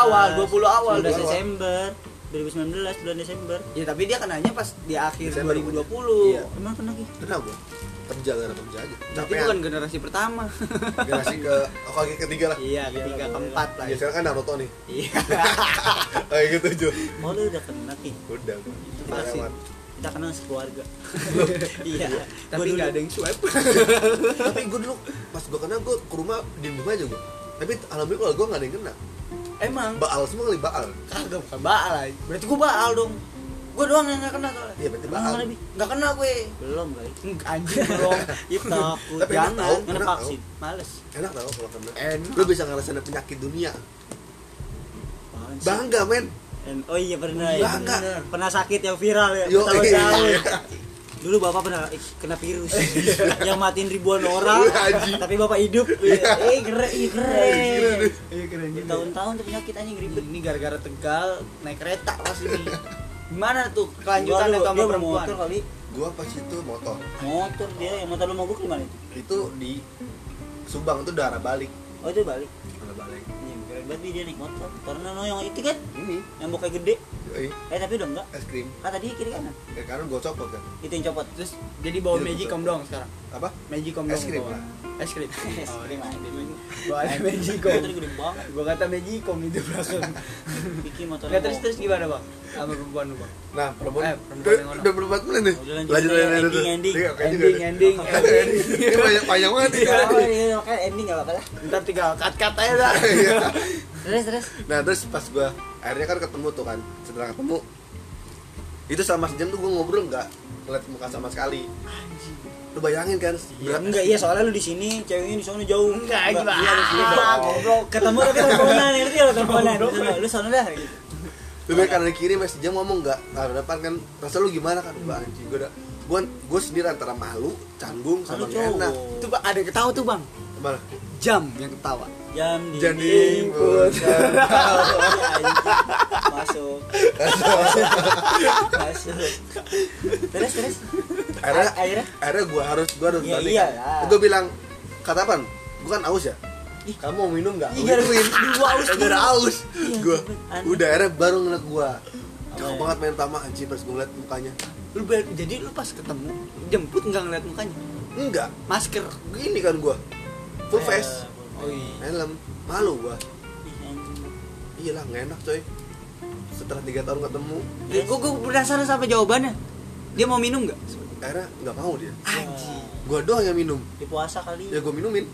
Speaker 1: awal, 20 awal
Speaker 3: 19
Speaker 1: Desember.
Speaker 3: Desember 2019 bulan Desember
Speaker 1: Ya tapi dia kenanya pas di akhir
Speaker 4: Desember
Speaker 1: 2020.
Speaker 4: Iya.
Speaker 3: emang kena Ki?
Speaker 4: kena gue kerja gara kerja aja
Speaker 1: Berarti
Speaker 4: capean
Speaker 1: bukan generasi pertama.
Speaker 4: generasi ke oh, kaki ketiga lah
Speaker 1: iya, ketiga keempat lah.
Speaker 4: Ya sekarang kan Naruto nih
Speaker 1: Iya.
Speaker 4: Kayak gitu Jo
Speaker 3: oh lu udah kena Ki?
Speaker 4: Udah gua.
Speaker 1: vaksin.
Speaker 4: Lewat.
Speaker 3: kita kenal sekeluarga iya
Speaker 1: tapi
Speaker 3: Gua
Speaker 1: nggak ada
Speaker 3: dulu-
Speaker 1: yang swipe.
Speaker 4: Tapi gue dulu Pas gue kena gue ke rumah Diem diem aja gue Tapi alhamdulillah gue gak ada yang kena
Speaker 1: Emang
Speaker 4: Baal semua kali baal
Speaker 1: kagak bukan baal aja. Berarti gua baal dong. Gua doang yang nggak kena soalnya.
Speaker 4: Iya berarti
Speaker 3: Emang
Speaker 4: baal
Speaker 3: mana, Bi?
Speaker 1: Nggak kena gue.
Speaker 3: belum kali
Speaker 1: Nggak, Anjing belum.
Speaker 3: ya takut
Speaker 4: Tapi
Speaker 3: jangan
Speaker 4: enak tau,
Speaker 3: kena
Speaker 4: enak tau.
Speaker 3: vaksin
Speaker 1: Males.
Speaker 4: Enak tau kalau kena
Speaker 1: Enak.
Speaker 4: Lu bisa ngerasain penyakit dunia
Speaker 3: Apaan sih?
Speaker 4: Bangga men
Speaker 3: En- oh iya pernah ya
Speaker 4: Bangga.
Speaker 3: bener. pernah sakit yang viral ya
Speaker 4: Yo, iya.
Speaker 3: tahun dulu bapak pernah eh, kena virus
Speaker 1: Iya.
Speaker 3: yang matiin ribuan orang
Speaker 4: Iya, anjing.
Speaker 3: tapi bapak hidup eh keren ih, keren
Speaker 1: Iya keren
Speaker 3: tahun-tahun tuh penyakit anjing ribet
Speaker 1: Ini gara-gara Tegal naik kereta pas ini. Gimana tuh
Speaker 3: Gua
Speaker 1: kelanjutannya tuh
Speaker 3: dulu,
Speaker 1: sama
Speaker 3: dia
Speaker 1: Iya. perempuan?
Speaker 3: motor kali
Speaker 4: Gue pas itu motor
Speaker 3: motor dia yang motor lu mau gue gimana itu
Speaker 4: Itu di Subang itu udah arah balik
Speaker 3: oh itu balik
Speaker 4: Arah balik
Speaker 3: Anjing, keren banget Bi, dia naik motor karena no yang itu kan
Speaker 4: Ini
Speaker 3: yang bokeh gede
Speaker 4: yoi,
Speaker 3: eh tapi udah enggak
Speaker 4: Es krim
Speaker 3: ah tadi kiri kanan
Speaker 4: Ya karena gue copot kan
Speaker 3: itu yang copot
Speaker 1: Terus jadi bawa
Speaker 4: Iya,
Speaker 1: magicom
Speaker 4: betul.
Speaker 1: doang sekarang.
Speaker 4: Apa?
Speaker 1: Magicom
Speaker 4: Es
Speaker 1: doang
Speaker 4: krim,
Speaker 1: bawa.
Speaker 4: Pak.
Speaker 1: Es krim.
Speaker 3: Es
Speaker 1: Oh,
Speaker 3: krim,
Speaker 1: dia-
Speaker 3: anjing.
Speaker 1: Bawa magicom.
Speaker 3: motor gede banget
Speaker 1: Gua kata magicom itu belakang.
Speaker 3: bikin motor
Speaker 1: Nggak, terus terus gimana bang? Sama perempuan lu bang?
Speaker 4: Nah, perempuan,
Speaker 1: Eh, perempuan yang mana?
Speaker 4: udah berempat menit nih.
Speaker 3: Udah lanjut
Speaker 4: Lanjut,
Speaker 3: aja,
Speaker 4: lanjut, lanjut.
Speaker 3: ending, ending.
Speaker 4: Iya, kayaknya
Speaker 1: Ending
Speaker 4: juga ada.
Speaker 1: ending ending.
Speaker 4: Ini banyak panjang banget. nih.
Speaker 3: oh iya makanya ending nggak apa-apa lah
Speaker 1: Ntar tinggal cut cut aja dah.
Speaker 4: Iya.
Speaker 3: terus terus
Speaker 4: Nah, terus pas gua akhirnya kan ketemu tuh kan. Setelah ketemu itu sama sejam tuh gue ngobrol nggak ngeliat muka sama sekali
Speaker 1: Anjing.
Speaker 4: lu bayangin kan
Speaker 3: Ya,
Speaker 4: berat-
Speaker 3: enggak iya soalnya lu di sini ceweknya di sono jauh
Speaker 1: Enggak, gimana?
Speaker 3: iya, di sini dong.
Speaker 1: Goblok.
Speaker 3: ketemu tapi teleponan ngerti ya lo teleponan Gitu lo, lu sono dah gitu.
Speaker 4: lu biar kanan kiri mas sejam ngomong nggak nah, depan kan rasa lu gimana kan gua anjing gue udah gue gue sendiri antara malu canggung
Speaker 3: Sono
Speaker 4: sama nggak enak
Speaker 3: cowok
Speaker 1: Itu Pak, ada yang ketawa tuh, Bang.
Speaker 4: Mana?
Speaker 1: Jam yang ketawa.
Speaker 3: jam di
Speaker 4: jadi
Speaker 3: pun
Speaker 4: pun kan.
Speaker 3: masuk masuk terus terus
Speaker 4: akhirnya
Speaker 3: akhirnya
Speaker 4: akhirnya gue harus gue harus
Speaker 3: Iya,
Speaker 4: balik.
Speaker 3: iya lah.
Speaker 4: gue bilang kata apa gue kan aus ya kamu mau minum nggak
Speaker 3: Iya,
Speaker 4: Gua gituin.
Speaker 3: dua aus
Speaker 4: gara aus
Speaker 3: Iya,
Speaker 4: gue
Speaker 3: aneh.
Speaker 4: udah akhirnya baru ngeliat gue cakep
Speaker 3: Aneh.
Speaker 4: banget main tama anjing pas gue ngeliat mukanya
Speaker 1: Lu balik- jadi lu pas ketemu jemput nggak ngeliat mukanya.
Speaker 4: enggak
Speaker 1: Masker.
Speaker 4: gini kan gue
Speaker 3: Eh,
Speaker 4: full face
Speaker 1: Oh iya.
Speaker 4: helm malu gue iyalah Iya nggak enak coy setelah tiga tahun ketemu
Speaker 1: Eh, gua, gua penasaran sama jawabannya. Dia mau minum nggak?
Speaker 4: akhirnya nggak mau dia
Speaker 1: Anjing.
Speaker 4: gue doang yang minum
Speaker 3: di puasa kali
Speaker 4: ya gue minumin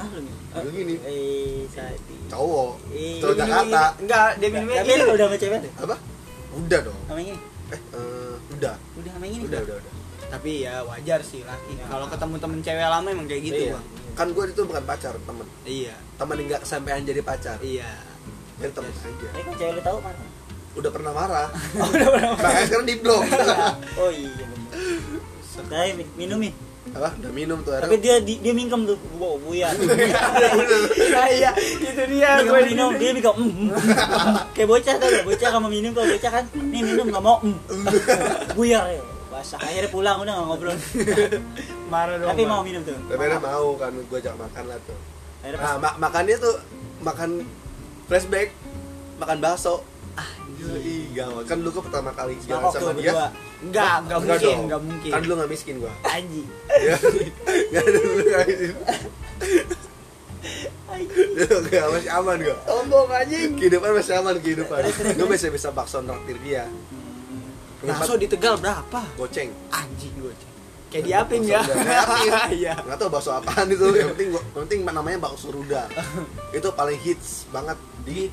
Speaker 3: ah lu
Speaker 4: Lu gini.
Speaker 3: eh sati
Speaker 4: cowok
Speaker 1: Iya,
Speaker 3: Ih.
Speaker 4: cowok Jakarta
Speaker 1: Enggak, dia minumnya
Speaker 3: tapi
Speaker 1: ini.
Speaker 3: lu udah sama cewek deh
Speaker 4: apa udah dong
Speaker 3: sama ini
Speaker 4: eh eh, udah
Speaker 3: udah sama ini
Speaker 4: udah udah udah
Speaker 1: Tapi ya wajar sih laki. Kalau ketemu temen cewek lama emang kayak gitu,
Speaker 4: Iya.
Speaker 1: Bang.
Speaker 4: kan gue itu bukan pacar temen
Speaker 1: Iya.
Speaker 4: temen yang nggak kesampaian jadi pacar
Speaker 1: Iya.
Speaker 4: jadi temen aja
Speaker 3: eh kok cewek lu tahu mana
Speaker 4: udah pernah marah
Speaker 3: oh udah pernah
Speaker 4: makanya sekarang di blok
Speaker 3: oh iya bener Tapi minumin
Speaker 4: apa udah minum tuh
Speaker 3: tapi
Speaker 4: akhirnya
Speaker 3: dia di- dia mingkem tuh gua oh, buya
Speaker 1: Iya, itu dia.
Speaker 3: minum
Speaker 1: gua
Speaker 3: minum dia minum mm, mm. kayak bocah tuh bocah kalau minum kalau bocah kan nih minum nggak mau mm. buyar ya basah akhirnya pulang udah nggak ngobrol
Speaker 1: marah dong.
Speaker 3: tapi
Speaker 1: Bang.
Speaker 3: mau minum tuh
Speaker 4: tapi akhirnya mau kan gue ajak makan lah tuh
Speaker 3: akhirnya pas
Speaker 4: nah ma- makannya tuh makan flashback makan bakso ah yoi gawat kan lu kok pertama kali jalan
Speaker 3: mabok tuh
Speaker 4: sama dia
Speaker 3: berdua
Speaker 1: Enggak, enggak mungkin, enggak mungkin.
Speaker 4: kan lu nggak miskin gua
Speaker 3: anjing
Speaker 4: ya nggak ada dulu nggak miskin Gak, masih aman gua
Speaker 1: Sombong anjing.
Speaker 4: kehidupan masih aman kehidupan gue masih bisa bakso traktir dia
Speaker 1: Hmm. Bakso
Speaker 4: Tempat
Speaker 1: di Tegal berapa?
Speaker 4: goceng
Speaker 1: Anjing gue. Kayak diapin ya.
Speaker 4: Bakso udah diapin.
Speaker 1: Iya.
Speaker 4: nggak tahu bakso apaan itu yang penting gua, yang penting namanya bakso ruda itu paling hits banget di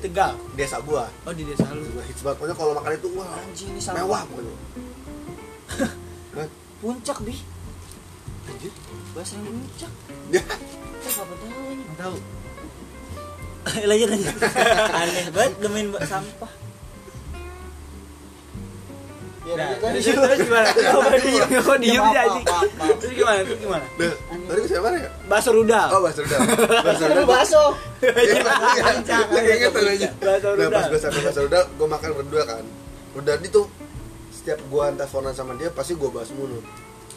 Speaker 1: Di Tegal.
Speaker 4: desa gua
Speaker 1: Oh di desa lu.
Speaker 4: Gua hits banget pokoknya kalau makan itu wah
Speaker 3: anjing ini sama
Speaker 4: mewah pokoknya Hah?
Speaker 3: puncak bi
Speaker 4: Anjir.
Speaker 3: bahasa yang puncak
Speaker 4: Ya.
Speaker 3: kita nggak tahu ini
Speaker 1: Nggak Tahu.
Speaker 3: lanjut lanjut aneh banget nemuin ba- sampah
Speaker 1: Nah, terus, terus gimana? Kenapa diem? Kok diem sih
Speaker 3: Maaf, maaf,
Speaker 1: anjing?
Speaker 3: maaf, maaf.
Speaker 1: Terus gimana? Terus gimana?
Speaker 4: Nah, tadi gua siapa ya?
Speaker 1: Bakso rudal.
Speaker 4: Oh, bakso ruda. Bakso ruda.
Speaker 3: bakso
Speaker 4: Iya, iya. Gua inget tuh, anjing.
Speaker 1: Bakso
Speaker 4: Nah, pas
Speaker 1: rudal.
Speaker 4: gue sampai Pasar Uda, gue makan berdua kan. Udah itu setiap gue teleponan sama dia pasti gue bahas mulu.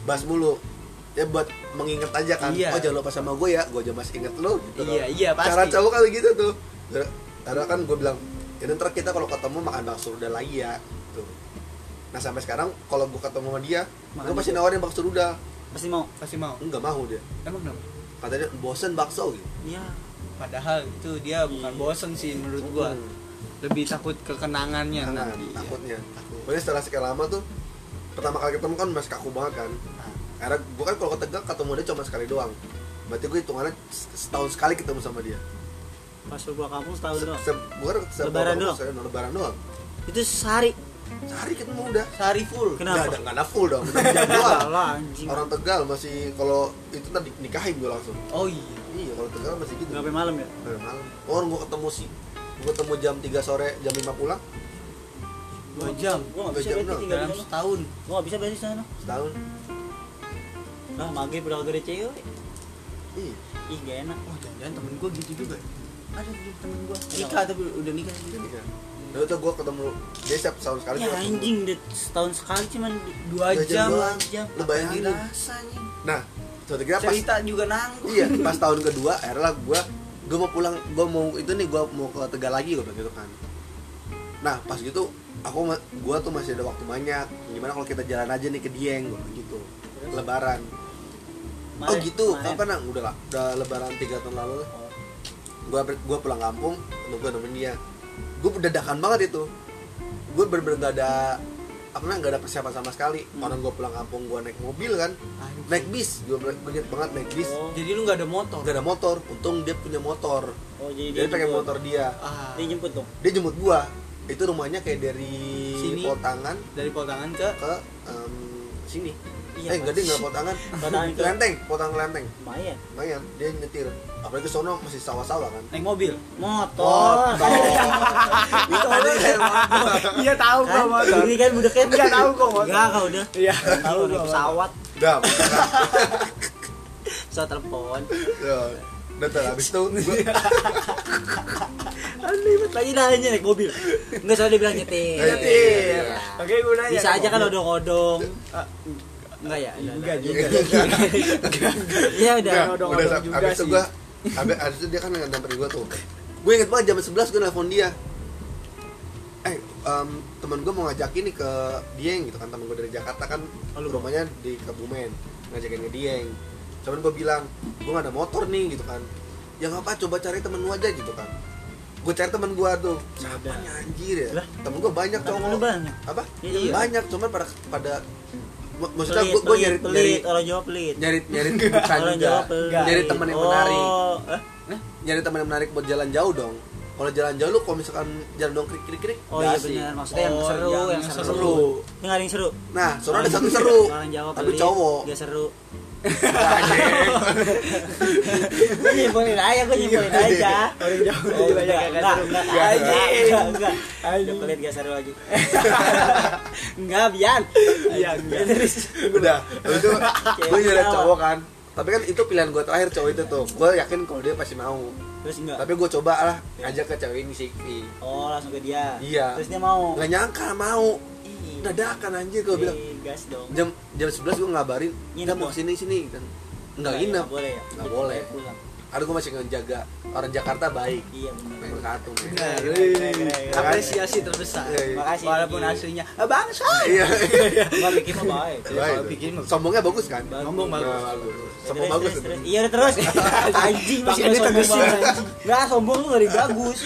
Speaker 4: Bahas mulu. Ya buat mengingat aja kan.
Speaker 1: Iya.
Speaker 4: Oh jangan lupa sama gue ya, gue aja masih inget lo gitu
Speaker 1: Iya,
Speaker 4: kan.
Speaker 1: iya, pasti.
Speaker 4: Cara cowok kali gitu tuh. Karena kan gue bilang, ya ntar kita kalau ketemu makan bakso udah lagi ya. Tuh. Nah sampai sekarang kalau gue ketemu sama dia,
Speaker 1: Makan
Speaker 4: gue pasti
Speaker 1: bakso.
Speaker 4: nawarin bakso udah.
Speaker 3: pasti mau
Speaker 1: Pasti mau.
Speaker 4: Enggak mau dia.
Speaker 1: Emang kenapa?
Speaker 4: Katanya bosen bakso gitu.
Speaker 3: iya
Speaker 1: Padahal itu dia bukan bosen sih menurut gua.
Speaker 4: Hmm.
Speaker 1: Lebih takut kekenangannya
Speaker 3: Iya,
Speaker 4: Kangen,
Speaker 1: nanti.
Speaker 3: nah.
Speaker 4: takutnya pokoknya setelah sekian lama tuh pertama kali ketemu kan masih kaku banget kan karena gue kan kalau ke Tegal ketemu dia cuma sekali doang berarti gue hitungannya se- setahun sekali ketemu sama dia
Speaker 3: pas lu pulang kampung setahun doang
Speaker 4: gue kan se-
Speaker 3: Lebaran
Speaker 4: se-
Speaker 3: doang?
Speaker 4: se- lebaran doang
Speaker 3: itu sehari
Speaker 4: sehari ketemu udah
Speaker 1: Sehari full.
Speaker 3: Kenapa?
Speaker 4: Nggak ada- nggak ada full dong enam jam doang
Speaker 3: lah anjing
Speaker 4: Iya, orang Tegal masih kalau itu tadi nikahin gue langsung
Speaker 1: Oh iya.
Speaker 4: iya kalau Tegal masih gitu
Speaker 3: Gak sampai malam ya?
Speaker 4: Dari malam orang gue ketemu sih gue ketemu jam 3 sore jam 5 pulang
Speaker 1: Dua jam.
Speaker 3: Gue gak
Speaker 4: Dua
Speaker 3: bisa
Speaker 4: jam
Speaker 3: berarti
Speaker 4: doang.
Speaker 3: tinggal
Speaker 1: Dalam
Speaker 3: di sana
Speaker 1: setahun.
Speaker 3: Gue gak bisa berarti di sana
Speaker 4: setahun
Speaker 3: Lah maghrib udah gak ada cewek
Speaker 4: iya
Speaker 3: Ih gak enak
Speaker 1: Oh jangan-jangan temen gua gitu juga. ya. Ada gitu temen gua. Nikah tapi udah nikah.
Speaker 4: jadi kan Lalu tuh gue ketemu dia setiap setahun sekali
Speaker 3: Ya
Speaker 4: gua ketemu.
Speaker 3: anjing udah setahun sekali cuman
Speaker 1: Dua
Speaker 4: Dua jam
Speaker 1: jam.
Speaker 4: doang.
Speaker 3: jam
Speaker 4: Lu bayangin.
Speaker 1: rasanya.
Speaker 4: Nah, suatu ketika pas
Speaker 1: Cerita juga nanggung.
Speaker 4: iya, pas tahun kedua akhirnya gue gue mau pulang, gue mau itu nih gue mau ke Tegal lagi gue bilang gitu kan. Nah, pas gitu aku ma- gua tuh masih ada waktu banyak. Gimana kalau kita jalan aja nih ke Dieng gue gitu. Lebaran. oh
Speaker 3: Kemarin,
Speaker 4: gitu,
Speaker 3: kemarin.
Speaker 4: kapan Nang? Udah lah, udah lebaran 3 tahun lalu lah.
Speaker 3: Oh.
Speaker 4: Gua ber- gua pulang kampung, temen gue nemenin dia. Gue dadakan banget itu. Gue bener-bener gak ada apa namanya gak ada persiapan sama sekali.
Speaker 3: Hmm.
Speaker 4: Orang gue pulang kampung gue naik mobil kan,
Speaker 1: Anjing.
Speaker 4: naik bis. Gue bener banget naik bis.
Speaker 3: Oh,
Speaker 1: Jadi lu nggak ada motor.
Speaker 4: nggak ada motor untung dia punya motor
Speaker 3: oh jadi
Speaker 4: dia
Speaker 3: dia
Speaker 4: pengen
Speaker 3: jemput.
Speaker 4: motor dia
Speaker 1: Ah.
Speaker 3: Dia jemput dong
Speaker 4: dia jemput gua itu rumahnya kayak dari
Speaker 1: Sini.
Speaker 4: Potangan
Speaker 1: dari Potangan ke
Speaker 4: ke em, sini
Speaker 3: Iya,
Speaker 4: eh
Speaker 3: Pak.
Speaker 4: enggak dia nggak Potangan
Speaker 3: Potangan ke-
Speaker 4: Lenteng Potangan Lenteng
Speaker 3: lumayan
Speaker 4: lumayan dia nyetir apalagi sono masih sawah-sawah kan
Speaker 1: naik mobil
Speaker 3: motor
Speaker 4: itu tadi saya mantap.
Speaker 1: iya tahu
Speaker 3: kan ini kan udah kan
Speaker 1: Nggak tahu kok motor.
Speaker 3: nggak kau udah
Speaker 1: iya
Speaker 3: tahu naik pesawat
Speaker 4: Dah, Potangan.
Speaker 3: pesawat telepon
Speaker 4: Ya, udah tuh, habis itu gua-
Speaker 3: Aduh, tadi nanya naik mobil. Enggak soalnya dia bilang nyetir.
Speaker 4: Nyetir.
Speaker 3: Iya.
Speaker 1: oke gue nanya
Speaker 3: Bisa aja kan odong-odong.
Speaker 1: Ah,
Speaker 3: Enggak ya?
Speaker 1: enggak juga
Speaker 3: Iya udah.
Speaker 4: Nah,
Speaker 1: Odong-odong
Speaker 4: udah sa-
Speaker 1: juga
Speaker 4: habis itu
Speaker 1: sih.
Speaker 4: gua habis habis itu dia kan nyamperin gua tuh gue inget banget jam 11 gue nelfon dia eh em, temen gue mau ngajakin nih ke Dieng gitu kan temen gue dari Jakarta kan rumahnya di Kebumen ngajakin ke Dieng cuman gue bilang gue gak ada motor nih gitu kan ya nggak apa coba cari temen lu aja gitu kan gue cari temen gue tuh siapa nih anjir ya
Speaker 3: Lah.
Speaker 4: temen gue banyak
Speaker 3: Temen
Speaker 4: cowok
Speaker 3: lu banyak?
Speaker 4: apa
Speaker 3: Iya.
Speaker 4: banyak cuman pada pada mak- maksudnya
Speaker 3: Pelit,
Speaker 4: gue gue
Speaker 3: pelit,
Speaker 4: nyari nyari
Speaker 3: pelit. Orang Jawa pelit.
Speaker 4: nyari nyari bukan
Speaker 3: Orang
Speaker 4: juga
Speaker 3: Jawa pelit.
Speaker 4: nyari temen yang
Speaker 3: Oh,
Speaker 4: menarik
Speaker 3: eh?
Speaker 4: nyari teman yang menarik buat jalan jauh dong kalau jalan jauh lu kalau misalkan jalan dong krik krik krik
Speaker 3: Oh iya
Speaker 4: nggak asik.
Speaker 3: benar, maksudnya yang
Speaker 1: Oh,
Speaker 3: seru,
Speaker 1: yang
Speaker 3: yang seru.
Speaker 4: iya, seru.
Speaker 3: Ini nggak ada yang seru.
Speaker 4: nah soalnya ada satu seru
Speaker 3: Iya, Orang ya. Jawa
Speaker 4: tapi cowok
Speaker 3: Gak seru.
Speaker 4: Anjing.
Speaker 3: Gue nyimpulin aja,
Speaker 4: Iya.
Speaker 3: gue nyimpulin aja.
Speaker 1: orang jauh
Speaker 3: Oh,
Speaker 1: aja
Speaker 3: enggak,
Speaker 1: banyak
Speaker 3: enggak, enggak, enggak, enggak, enggak.
Speaker 1: Anjing.
Speaker 3: Udah pelit gak seru lagi. Enggak, Bian.
Speaker 1: Iya, enggak.
Speaker 3: Terus.
Speaker 4: udah habis itu gue nyari
Speaker 3: ketawa.
Speaker 4: cowok kan tapi kan itu pilihan gue terakhir cowok itu tuh gue yakin kalau dia pasti mau
Speaker 3: Terus enggak.
Speaker 4: tapi gue coba lah ngajak ke cewek ini si Ivi.
Speaker 3: Oh langsung ke dia.
Speaker 4: Iya.
Speaker 3: Terus dia mau.
Speaker 4: nggak nyangka mau
Speaker 3: Ih,
Speaker 4: dadakan anjir gue bilang
Speaker 3: eh, gas dong.
Speaker 4: jam jam 11 gue ngabarin kita
Speaker 3: Nginep
Speaker 4: mau
Speaker 3: dong.
Speaker 4: sini sini kan nggak
Speaker 3: ya,
Speaker 4: inap
Speaker 3: boleh ya.
Speaker 4: Nggak boleh.
Speaker 3: Pulang.
Speaker 4: karena gue masih ngejaga orang Jakarta baik
Speaker 3: Iya benar.
Speaker 4: nomor satu men.
Speaker 1: iya. apresiasi terbesar
Speaker 4: kan? Iya, iya.
Speaker 3: Makasih.
Speaker 1: walaupun aslinya "Ah, bangsa
Speaker 4: iya
Speaker 3: Gua bikin mah baik.
Speaker 1: Iya, kalau bikin mah-
Speaker 4: sombongnya bagus kan
Speaker 3: Bagus.
Speaker 1: ngomong bagus
Speaker 4: Nah, bagus.
Speaker 3: Ya,
Speaker 4: sombong
Speaker 3: terus,
Speaker 4: bagus
Speaker 3: terus,
Speaker 4: itu.
Speaker 3: terus. Iya udah terus. Anjing masih
Speaker 1: Makanya
Speaker 3: ada
Speaker 1: tegesin,
Speaker 3: sombong banget. Enggak sombong lu dari bagus.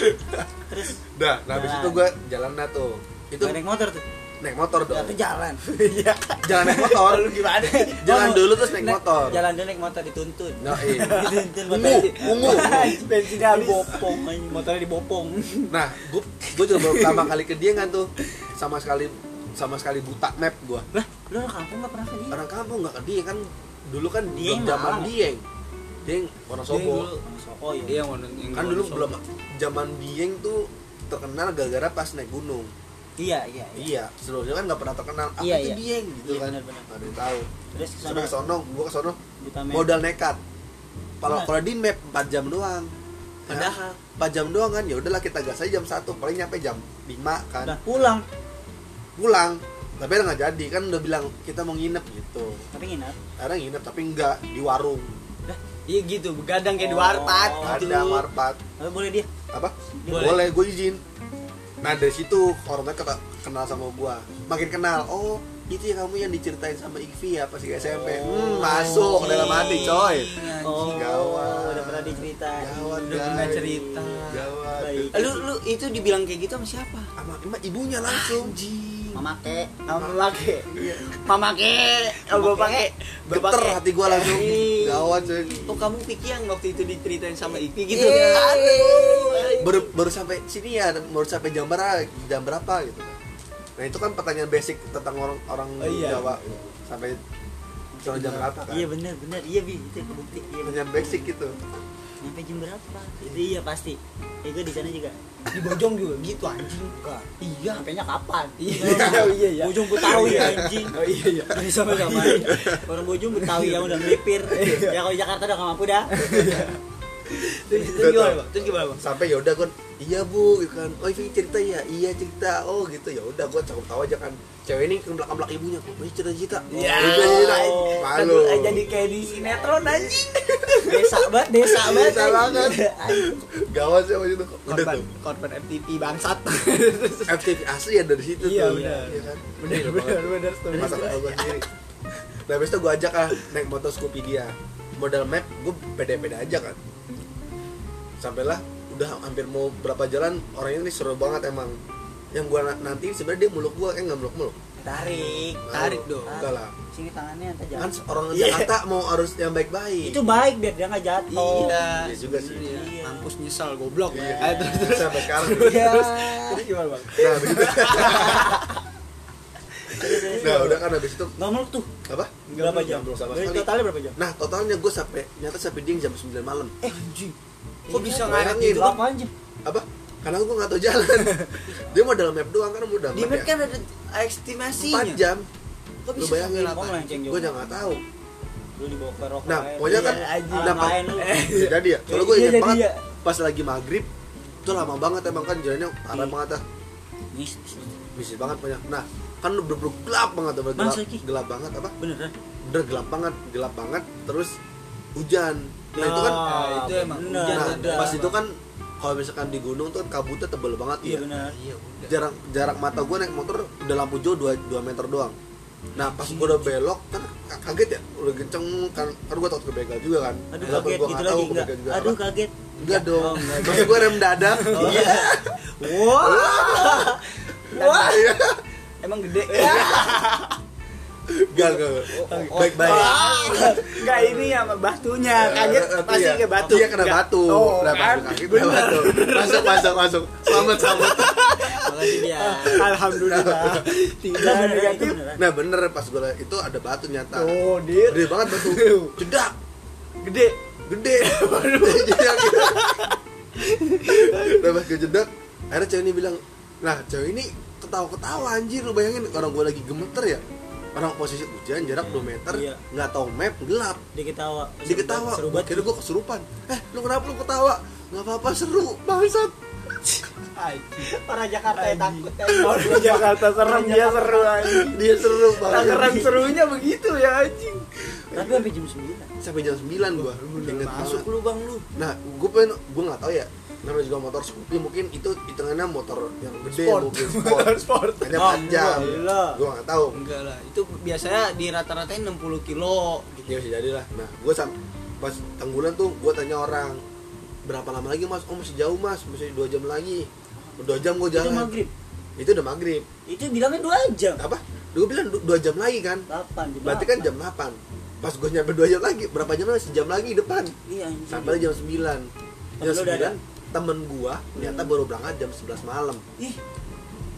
Speaker 3: Terus
Speaker 4: dah nah habis
Speaker 3: Jalan.
Speaker 4: itu gue jalan dah tuh itu
Speaker 3: itu naik motor tuh.
Speaker 4: naik motor dong
Speaker 3: Atau jalan.
Speaker 1: iya
Speaker 4: jalan naik motor
Speaker 1: lu gimana
Speaker 4: jalan
Speaker 3: Oh,
Speaker 4: dulu terus naik motor
Speaker 3: Jalan dulu naik motor dituntun.
Speaker 4: nah iya
Speaker 3: Dituntun
Speaker 4: ungu ungu
Speaker 1: bensinnya habis
Speaker 3: Dibopong anjing. Motornya dibopong.
Speaker 4: nah gue gue juga baru pertama kali ke dia kan tuh sama sekali sama sekali buta map gue
Speaker 3: Lah, lu orang kampung enggak pernah ke dia?
Speaker 4: orang kampung nggak ke dia kan dulu kan
Speaker 3: Dieng
Speaker 4: belum zaman
Speaker 3: malah.
Speaker 4: dieng dieng orang sobo
Speaker 3: Oh
Speaker 1: iya
Speaker 3: iya.
Speaker 1: yang warna- yang
Speaker 4: kan
Speaker 1: warna
Speaker 4: dulu
Speaker 1: sok.
Speaker 4: belum zaman dieng tuh terkenal gara-gara pas naik gunung
Speaker 3: Iya, iya. iya.
Speaker 4: iya sebelumnya kan nggak pernah terkenal apa
Speaker 3: Iya,
Speaker 4: itu
Speaker 3: iya.
Speaker 4: dieng gitu
Speaker 3: Iya,
Speaker 4: kan
Speaker 3: benar-benar.
Speaker 4: nggak ada yang tahu
Speaker 3: Terus
Speaker 4: sono
Speaker 3: kesana
Speaker 4: ke sono gua ke sono
Speaker 3: ditamen.
Speaker 4: modal nekat kalau
Speaker 3: Benar.
Speaker 4: kalau di map 4 jam doang
Speaker 3: Padahal.
Speaker 4: ya, 4 jam doang kan ya udahlah kita gas aja jam 1 paling nyampe jam 5 kan
Speaker 3: Udah pulang,
Speaker 4: pulang tapi nggak jadi kan udah bilang kita mau nginep gitu
Speaker 3: tapi nginap.
Speaker 4: karena nginep tapi enggak di warung
Speaker 1: iya gitu begadang kayak di
Speaker 3: Oh,
Speaker 1: warpat
Speaker 3: Oh,
Speaker 4: ada
Speaker 1: gitu.
Speaker 4: warpat
Speaker 3: Tapi boleh dia.
Speaker 4: apa
Speaker 1: Boleh.
Speaker 4: boleh, gue izin nah dari situ orangnya kata kenal sama gua makin kenal oh itu ya kamu yang diceritain sama Ikvi ya pas di SMP hmm, masuk
Speaker 3: Oh,
Speaker 4: dalam
Speaker 1: iya.
Speaker 4: hati coy
Speaker 1: Anjing,
Speaker 3: Oh,
Speaker 4: gawat.
Speaker 3: udah pernah diceritain.
Speaker 4: Gawat,
Speaker 1: udah pernah cerita
Speaker 4: gawat
Speaker 3: Baik.
Speaker 1: Eh, lu lu itu dibilang kayak gitu sama siapa
Speaker 4: sama sama ibunya langsung
Speaker 3: Mama ke.
Speaker 1: mama ke mama ke bapak ke bapak
Speaker 4: geter
Speaker 1: ke.
Speaker 4: hati gua langsung
Speaker 1: Ih.
Speaker 4: gawat coy
Speaker 1: oh kamu Vicky yang waktu itu diceritain sama Iki gitu
Speaker 3: Yeay.
Speaker 1: Aduh.
Speaker 4: baru baru sampai sini ya baru sampai jam berapa jam berapa gitu kan nah itu kan pertanyaan basic tentang orang orang
Speaker 1: Oh, iya.
Speaker 4: Jawa sampai soal jam berapa kan
Speaker 3: Iya benar benar iya bi itu kebukti iya bener.
Speaker 4: pertanyaan basic gitu
Speaker 3: Nyampe jam berapa? Itu iya pasti. Ya gue di sana juga.
Speaker 1: di Bojong juga gitu anjing iya
Speaker 3: Nyampenya kapan?
Speaker 1: Iya, iya, iya.
Speaker 3: Bojong Betawi anjing.
Speaker 1: oh iya iya
Speaker 3: Jadi sama sama orang Bojong Betawi yang udah melipir. Ya kalau di Jakarta udah gak mampu dah.
Speaker 1: terus terus gimana bang terus gimana bang
Speaker 4: sampai ya udah gue iya bu gitu kan oh ini cerita ya iya cerita oh gitu ya udah gue cukup tahu aja kan cewek ini kebelak belak ibunya kok ini cerita cerita
Speaker 1: Iya.
Speaker 4: Oh, cerita cerita malu
Speaker 1: Aduh, jadi kayak di sinetron Oh, anjing
Speaker 3: Desa banget,
Speaker 4: Iya,
Speaker 3: desa banget.
Speaker 4: Desa banget.
Speaker 3: Anjing.
Speaker 4: gawas ya waktu itu udah
Speaker 1: korban
Speaker 4: tuh
Speaker 1: korban FTP bangsat
Speaker 4: FTV asli ya dari situ
Speaker 1: Iya,
Speaker 4: tuh
Speaker 1: benar.
Speaker 4: Iya kan
Speaker 1: bener
Speaker 4: Gila
Speaker 1: bener
Speaker 4: banget.
Speaker 1: bener setuju.
Speaker 4: masa kepala gue sendiri nah habis itu gue ajak lah naik motor Scoopy dia modal map gue pede-pede aja kan sampailah udah hampir mau berapa jalan orangnya ini seru banget emang yang gue nanti sebenarnya dia muluk gue eh nggak muluk muluk
Speaker 3: tarik
Speaker 4: Mau.
Speaker 1: Tarik dong.
Speaker 4: enggak lah
Speaker 3: sini tangannya antar
Speaker 4: kan
Speaker 3: jalan
Speaker 4: orang
Speaker 1: Iya.
Speaker 4: Jakarta mau harus yang baik-baik
Speaker 3: itu baik biar dia nggak jatuh
Speaker 1: iya
Speaker 4: Iya juga sih.
Speaker 1: sebenarnya.
Speaker 3: Iya.
Speaker 1: mampus nyesal goblok
Speaker 4: Iya.
Speaker 1: Ayo, terus terus
Speaker 4: sampai sekarang
Speaker 3: Ah, Iya.
Speaker 1: Terus gimana bang
Speaker 4: nah begitu nah udah kan habis itu
Speaker 3: nggak meluk tuh
Speaker 4: apa
Speaker 3: berapa jam
Speaker 4: belum sama
Speaker 3: Berarti
Speaker 4: sekali
Speaker 3: totalnya berapa jam
Speaker 4: nah totalnya gue sampai nyata sampai dia jam 9 malam
Speaker 1: eh anjing kok
Speaker 3: Iya,
Speaker 1: bisa ngaret
Speaker 4: bayangin.
Speaker 1: gitu kan?
Speaker 4: Lah.
Speaker 3: delapan jam
Speaker 4: apa karena gue nggak tahu jalan dia modal map doang kan udah
Speaker 1: di map kan ya? ada estimasinya
Speaker 4: 4 jam
Speaker 1: kok
Speaker 4: Lu
Speaker 1: bisa
Speaker 4: bayangin.
Speaker 1: sampai
Speaker 3: Mau
Speaker 1: delapan?
Speaker 3: melenceng
Speaker 4: gue
Speaker 3: jauh
Speaker 4: juga nggak tahu
Speaker 3: lu dibawa ke rokok
Speaker 4: nah
Speaker 3: aja.
Speaker 4: pokoknya kan
Speaker 1: Iya, anjing.
Speaker 3: Alam
Speaker 4: nah, pas-
Speaker 3: lain lu
Speaker 4: Ya, jadi ya kalau gue
Speaker 3: Iya,
Speaker 4: ingat
Speaker 3: jadi
Speaker 4: banget
Speaker 3: ya.
Speaker 4: pas lagi maghrib itu lama banget emang kan jalannya arah banget ah
Speaker 3: Nis,
Speaker 4: bising banget banyak nah kan lu bener gelap banget bener gelap,
Speaker 3: Bang, Seki.
Speaker 4: gelap banget apa
Speaker 3: beneran
Speaker 4: bener gelap banget gelap banget terus hujan nah itu kan
Speaker 1: Ah, itu emang
Speaker 3: bener.
Speaker 1: hujan
Speaker 4: nah,
Speaker 1: ada.
Speaker 4: pas itu kan kalau misalkan di gunung tuh kan kabutnya tebel banget
Speaker 3: iya
Speaker 4: ya
Speaker 3: bener
Speaker 1: iya udah
Speaker 4: jarak jarak mata gue naik motor udah lampu jauh 2, 2 meter doang nah pas gue udah belok kan ka- kaget ya udah kenceng kan kan gue takut kebegal juga kan
Speaker 3: aduh
Speaker 4: Walaupun
Speaker 3: kaget
Speaker 4: gua
Speaker 3: gitu lagi
Speaker 4: nggak tahu
Speaker 3: enggak
Speaker 4: kebegal juga
Speaker 3: aduh
Speaker 4: apa.
Speaker 3: kaget
Speaker 4: enggak dong
Speaker 3: Oh, enggak.
Speaker 4: masa gue rem dadak iya
Speaker 3: wah
Speaker 1: Wah.
Speaker 4: Iya.
Speaker 1: emang gede
Speaker 4: enggak enggak
Speaker 1: oh.
Speaker 4: baik baik
Speaker 1: Enggak ini sama batunya. ah, Kaget pasti ke batu.
Speaker 4: Eh, Iya kena
Speaker 1: Nggak.
Speaker 4: batu.
Speaker 1: Oh,
Speaker 4: Nah,
Speaker 1: kan?
Speaker 4: masuk kaki, kena batu. Masuk masuk masuk. Selamat selamat.
Speaker 1: Makasih dia. Alhamdulillah. Tidak
Speaker 3: Enggak, beneran, itu
Speaker 1: negatif.
Speaker 3: beneran.
Speaker 4: Nah bener pas gue itu ada batu nyata.
Speaker 1: Oh, dia
Speaker 4: Gede banget batu. Cedak.
Speaker 1: gede.
Speaker 4: gede Jedak. nah pas gue jedak akhirnya cewek ini bilang nah cewek ini ketawa-ketawa anjir lu bayangin orang gue lagi gemeter ya orang posisi hujan jarak 2 meter
Speaker 3: Iya.
Speaker 4: nggak tahu map gelap
Speaker 3: dikit tawa
Speaker 4: sedikit tawa
Speaker 3: seru
Speaker 4: gue
Speaker 3: banget
Speaker 4: kira gue kesurupan eh lu kenapa lu ketawa nggak apa-apa seru bangsat
Speaker 3: orang Jakarta yang takut ya
Speaker 1: Orang Jakarta serem
Speaker 4: iya,
Speaker 1: dia seru anjing.
Speaker 4: dia seru
Speaker 1: Tangerang
Speaker 4: banget
Speaker 1: serunya begitu ya anjing.
Speaker 3: tapi sampai jam sembilan
Speaker 4: sampai jam 9 gue inget
Speaker 1: Masuk
Speaker 4: banget
Speaker 1: lu Bang lu.
Speaker 4: nah gue pengen gue nggak tahu ya namanya juga motor Scoopy mungkin itu hitungannya motor yang gede
Speaker 1: Sport.
Speaker 4: mungkin sport
Speaker 1: Sport.
Speaker 4: hanya
Speaker 3: Oh,
Speaker 4: panjang
Speaker 3: gila.
Speaker 4: gue nggak tahu
Speaker 1: Enggak lah, itu biasanya di rata-ratain 60 kilo gitu.
Speaker 3: Iya,
Speaker 4: ya bisa jadi lah nah gue sam pas tenggulan tuh gue tanya orang berapa lama lagi mas oh masih jauh mas masih dua jam lagi dua jam gue
Speaker 3: itu
Speaker 4: jalan
Speaker 3: maghrib
Speaker 4: itu udah maghrib
Speaker 3: itu bilangnya dua jam
Speaker 4: apa gue bilang "Du- dua jam lagi kan
Speaker 3: delapan jam
Speaker 4: berarti kan jam 8 pas gue nyampe dua jam lagi berapa jam lagi sejam lagi depan
Speaker 3: iya anjing.
Speaker 4: sampai jam 9 jam
Speaker 3: Temen lu udah ada?
Speaker 4: 9 temen gue ternyata baru berangkat jam 11 malam
Speaker 3: ih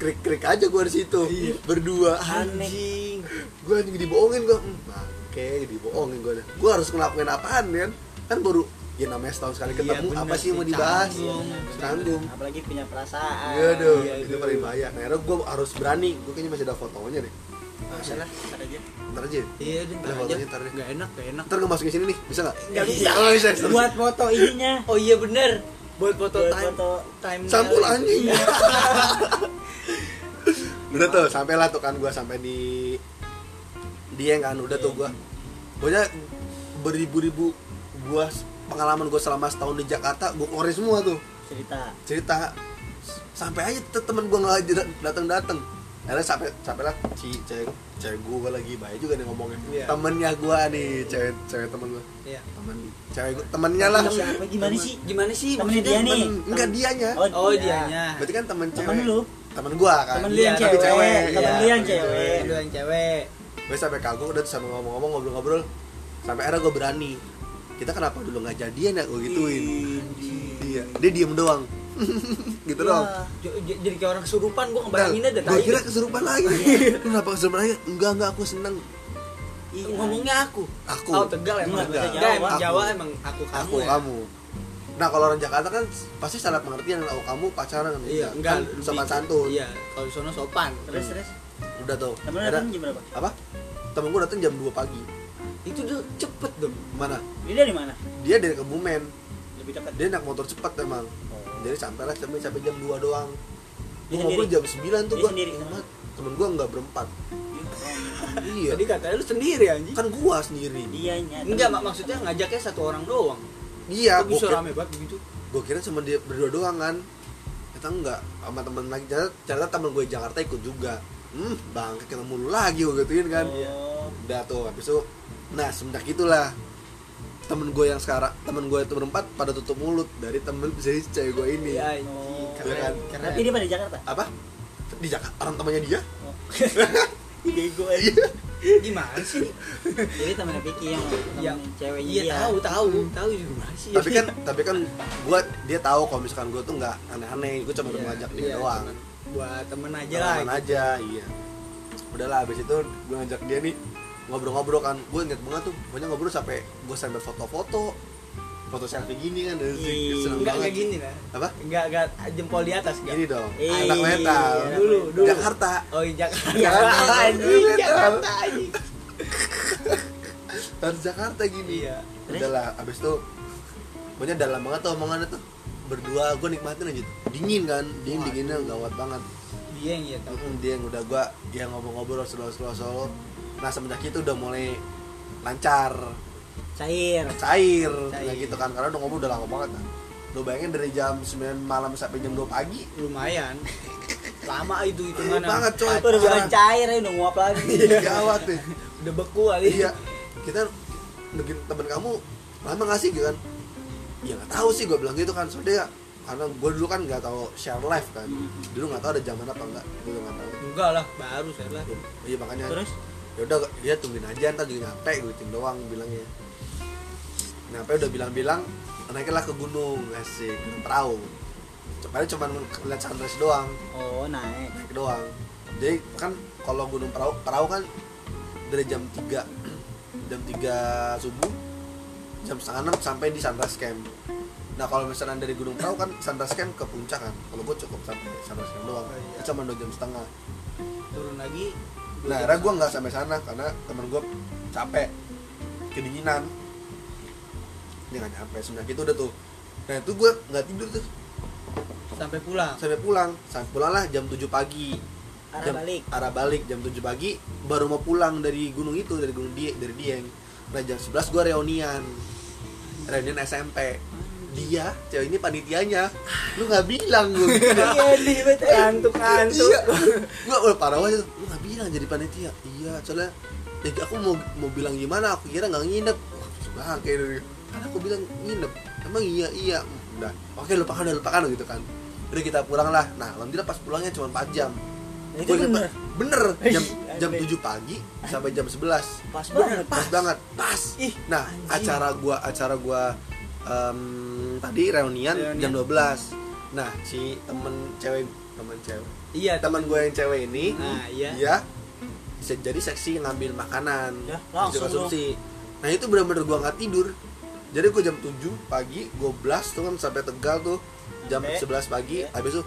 Speaker 4: krik krik aja gue di situ
Speaker 3: Iya.
Speaker 4: berdua
Speaker 3: aneh
Speaker 1: Anjing.
Speaker 4: gue anjing dibohongin gue oke dibohongin gue gue harus ngelakuin apaan kan kan baru ya namanya setahun sekali
Speaker 1: Iya,
Speaker 4: ketemu
Speaker 1: bener
Speaker 4: apa sih yang mau
Speaker 1: sih,
Speaker 4: dibahas
Speaker 1: canggung.
Speaker 4: canggung
Speaker 3: apalagi punya perasaan
Speaker 4: Aduh,
Speaker 1: Iya,
Speaker 4: itu
Speaker 1: aduh.
Speaker 4: paling bahaya. Nah, akhirnya gue harus berani. Gue kayaknya masih ada fotonya deh.
Speaker 3: nggak usah lah ntar aja
Speaker 4: Ntar aja. ya.
Speaker 1: Iya, dia ntar
Speaker 4: Ada
Speaker 1: aja.
Speaker 4: fotonya ntar deh.
Speaker 1: Nggak enak, nggak enak.
Speaker 4: Ntar gue masukin sini nih, bisa nggak?
Speaker 1: Nggak bisa.
Speaker 4: Oh, bisa. bisa.
Speaker 3: buat foto ininya
Speaker 1: Oh iya bener. Buat foto
Speaker 3: Buat
Speaker 1: time. ah.
Speaker 3: foto.
Speaker 1: Time.
Speaker 4: Sampul anjing. udah tuh, sampailah tuh kan gue sampai di Dieng kan, udah tuh gue. Pokoknya beribu-ribu gua pengalaman gue selama setahun di Jakarta, gue keluarin semua tuh
Speaker 3: cerita
Speaker 4: cerita sampai aja tuh temen gue nggak datang datang akhirnya sampai sampai lah si cewek cewek gue lagi baik juga nih ngomongnya
Speaker 1: Iya.
Speaker 4: temennya gue nih cewek cewek temen gue
Speaker 1: Iya.
Speaker 4: temen cewek gue temennya lah
Speaker 3: Temen siapa? Gimana sih?
Speaker 1: Gimana sih?
Speaker 3: Temennya
Speaker 1: maksudnya?
Speaker 3: dia nih.
Speaker 4: Temen- enggak dianya
Speaker 1: Oh, dianya.
Speaker 4: berarti kan temen cewek
Speaker 3: temen lu
Speaker 4: temen gue kan
Speaker 3: temen lu
Speaker 1: Iya,
Speaker 3: yang
Speaker 1: tapi
Speaker 3: cewek
Speaker 4: cewek,
Speaker 3: temen lu
Speaker 4: iya.
Speaker 3: yang
Speaker 4: Tapi
Speaker 3: cewek
Speaker 1: Lu yang cewek.
Speaker 4: gue sampai kagum udah tuh sampai ngomong-ngomong ngobrol-ngobrol sampai akhirnya gue berani kita kenapa dulu nggak jadian ya gue gituin iya dia diem doang gitu doang
Speaker 3: Wah.
Speaker 1: J- j- Jadi kayak orang kesurupan gua ngebayanginnya ada
Speaker 4: gue
Speaker 1: tai.
Speaker 4: kira kesurupan lagi Lu kenapa kesurupan lagi enggak enggak aku seneng
Speaker 3: Iya.
Speaker 1: Ngomongnya aku.
Speaker 4: aku
Speaker 1: Oh, Tegal emang.
Speaker 3: Enggak, bahasa
Speaker 1: Enggak,
Speaker 3: Jawa.
Speaker 1: emang
Speaker 4: Aku.
Speaker 1: Jawa emang aku kamu.
Speaker 4: aku
Speaker 1: ya?
Speaker 4: kamu nah kalau orang Jakarta kan pasti salah pengertian aku kamu pacaran kan
Speaker 1: Iya,
Speaker 4: Kan
Speaker 1: enggak
Speaker 4: sopan
Speaker 1: lebih-
Speaker 4: santun
Speaker 1: Iya, kalau di sono sopan.
Speaker 3: terus terus
Speaker 4: udah tuh
Speaker 3: temen lu
Speaker 4: Ada-
Speaker 3: datang jam berapa
Speaker 4: apa temen gue datang jam 2 pagi
Speaker 1: Itu tuh cepet dong.
Speaker 4: mana
Speaker 3: dia dari mana
Speaker 4: dia dari Kebumen
Speaker 3: lebih dekat Oh,
Speaker 4: dia naik motor cepat emang jadi sampai lah sampai sampai jam 2 doang
Speaker 3: Dia
Speaker 4: gue ngobrol
Speaker 3: sendiri?
Speaker 4: jam 9 tuh
Speaker 3: Dia
Speaker 4: gue
Speaker 3: sendiri ke sana?
Speaker 4: temen gue enggak berempat iya
Speaker 1: Tadi katanya lu sendiri anjing.
Speaker 4: kan gua sendiri
Speaker 1: Iya.
Speaker 3: dianya temen
Speaker 1: Enggak,
Speaker 3: lu.
Speaker 1: mak maksudnya ngajaknya satu orang doang.
Speaker 4: iya
Speaker 1: Kok
Speaker 4: gua
Speaker 1: bisa
Speaker 4: kira-
Speaker 1: rame banget begitu.
Speaker 4: gue kira cuma dia berdua doang kan kita enggak sama temen lagi ternyata, ternyata temen gue Jakarta ikut juga hmm bang ketemu lu lagi gue gituin kan
Speaker 3: Oh.
Speaker 4: udah tuh habis itu nah semenjak itulah temen gue yang sekarang temen gue itu berempat pada tutup mulut dari temen si cewek gue ini
Speaker 1: Iya,
Speaker 4: Oh,
Speaker 1: anjing.
Speaker 4: Keren.
Speaker 1: Keren.
Speaker 3: Tapi dia pada Jakarta.
Speaker 4: Oh. apa di Jakarta orang temannya dia
Speaker 3: bego
Speaker 4: Iya.
Speaker 3: aja
Speaker 1: gimana sih
Speaker 3: jadi temennya Vicky yang
Speaker 1: ya
Speaker 3: temen ceweknya
Speaker 1: iya
Speaker 3: dia
Speaker 1: tahu tahu tahu juga gimana sih
Speaker 4: tapi kan tapi kan gue dia tahu kalau misalkan gue tuh nggak aneh-aneh gue cuma mau ngajak dia doang
Speaker 1: cuman buat temen aja lah gitu.
Speaker 4: jalan aja iya udahlah abis itu gue ngajak dia nih ngobrol-ngobrol kan gue inget banget tuh pokoknya ngobrol sampai gue sambil foto-foto foto selfie gini kan dari
Speaker 3: Ih,
Speaker 4: seneng
Speaker 1: enggak
Speaker 4: banget.
Speaker 1: kayak gini lah
Speaker 4: apa
Speaker 1: enggak enggak jempol di atas enggak iya,
Speaker 4: gini dong
Speaker 3: Ih,
Speaker 4: anak metal
Speaker 1: dulu, dulu.
Speaker 4: Jakarta kan?
Speaker 1: oh iya, Jakarta
Speaker 4: Jakarta,
Speaker 1: anjing
Speaker 4: iya,
Speaker 1: Jakarta anjing
Speaker 4: harus Jakarta gini
Speaker 1: Iya.
Speaker 3: Terus?
Speaker 4: udahlah abis itu pokoknya dalam banget tuh omongannya tuh berdua gue nikmatin aja tuh. dingin kan dingin
Speaker 1: Waduh.
Speaker 4: dinginnya gawat banget
Speaker 1: dia yang iya tahu
Speaker 4: Mm-mm, dia yang udah gue ya ngobrol-ngobrol selalu-selalu nah semenjak itu udah mulai lancar
Speaker 3: cair
Speaker 1: Cair.
Speaker 4: cair, ya gitu kan karena udah ngomong udah lama banget kan lo bayangin dari jam 9 malam sampai jam 2 pagi
Speaker 1: lumayan lama itu itu mana
Speaker 4: banget coy
Speaker 3: itu udah bukan cair ya udah nguap lagi
Speaker 4: gawat nih
Speaker 1: udah beku kali
Speaker 4: iya kita bikin temen kamu lama gak sih gitu kan ya nggak tahu sih gue bilang gitu kan soalnya karena gue dulu kan nggak tahu share life kan dulu nggak tahu ada zaman apa enggak gue nggak tahu
Speaker 1: enggak lah baru saya lah
Speaker 4: iya makanya
Speaker 3: terus
Speaker 4: ya udah dia tungguin aja ntar juga nyampe gue gituin doang bilangnya nyampe udah bilang-bilang naiklah ke gunung asik gunung perahu Padahal cuma lihat sunrise doang
Speaker 3: oh naik
Speaker 4: naik doang jadi kan kalau gunung perahu perahu kan dari jam 3 jam 3 subuh jam setengah 6 sampai di sunrise camp nah kalau misalnya dari gunung perahu kan sunrise camp ke puncak kan kalau gue cukup sampai sunrise camp doang
Speaker 1: Oh, iya.
Speaker 4: itu cuma 2 jam setengah
Speaker 1: turun lagi dua jam.
Speaker 4: Nah, akhirnya gue nggak sampai sana karena temen gue capek, kedinginan. Dia nggak nyampe, sebenarnya itu udah tuh. Nah itu gue nggak tidur tuh
Speaker 1: sampai pulang
Speaker 4: sampai pulang, sampai pulang lah jam 7 pagi.
Speaker 3: arah
Speaker 4: Jam-
Speaker 3: balik
Speaker 4: Arah balik jam 7 pagi baru mau pulang dari gunung itu dari gunung dia dari Dieng. Nah jam 11 gue reunian, reunian SMP. Dia, cewek ini panitianya, lu nggak bilang gitu. gue.
Speaker 3: iya nih
Speaker 1: kantuk kantuk
Speaker 4: Iya. Gua udah parah aja tuh. Lu nggak bilang jadi panitia. Iya, soalnya ya, aku mau mau bilang gimana? Aku kira nggak nginep. Wah, sebahan kayak gitu. Kan aku bilang nginep. Emang iya iya. Udah. Oke, lupakan udah lupakan gitu kan. Udah kita pulang lah. Nah, alhamdulillah pas pulangnya cuma 4 jam.
Speaker 3: itu
Speaker 4: Gua ingat
Speaker 3: bener
Speaker 4: ba- bener.
Speaker 3: Ih,
Speaker 4: Jam jam
Speaker 3: aneh.
Speaker 4: 7 pagi sampai jam 11.
Speaker 3: pas banget
Speaker 4: Pas banget. Pas.
Speaker 3: Ih,
Speaker 4: Nah,
Speaker 3: anjing.
Speaker 4: acara gua acara gua em, tadi reunian,
Speaker 1: Reunian.
Speaker 4: jam 12. Nah, si temen cewek temen cewek
Speaker 1: iya
Speaker 4: Eh, teman gue yang cewek ini
Speaker 1: nah iya
Speaker 4: dia se- jadi seksi ngambil makanan
Speaker 3: Ya,
Speaker 4: hasil
Speaker 3: langsung
Speaker 4: konsumsi nah itu benar-benar gue nggak tidur jadi gue jam 7 pagi gue blast tuh kan sampai tegal tuh jam
Speaker 3: Sampai.
Speaker 4: 11 pagi
Speaker 3: Ya.
Speaker 4: habis itu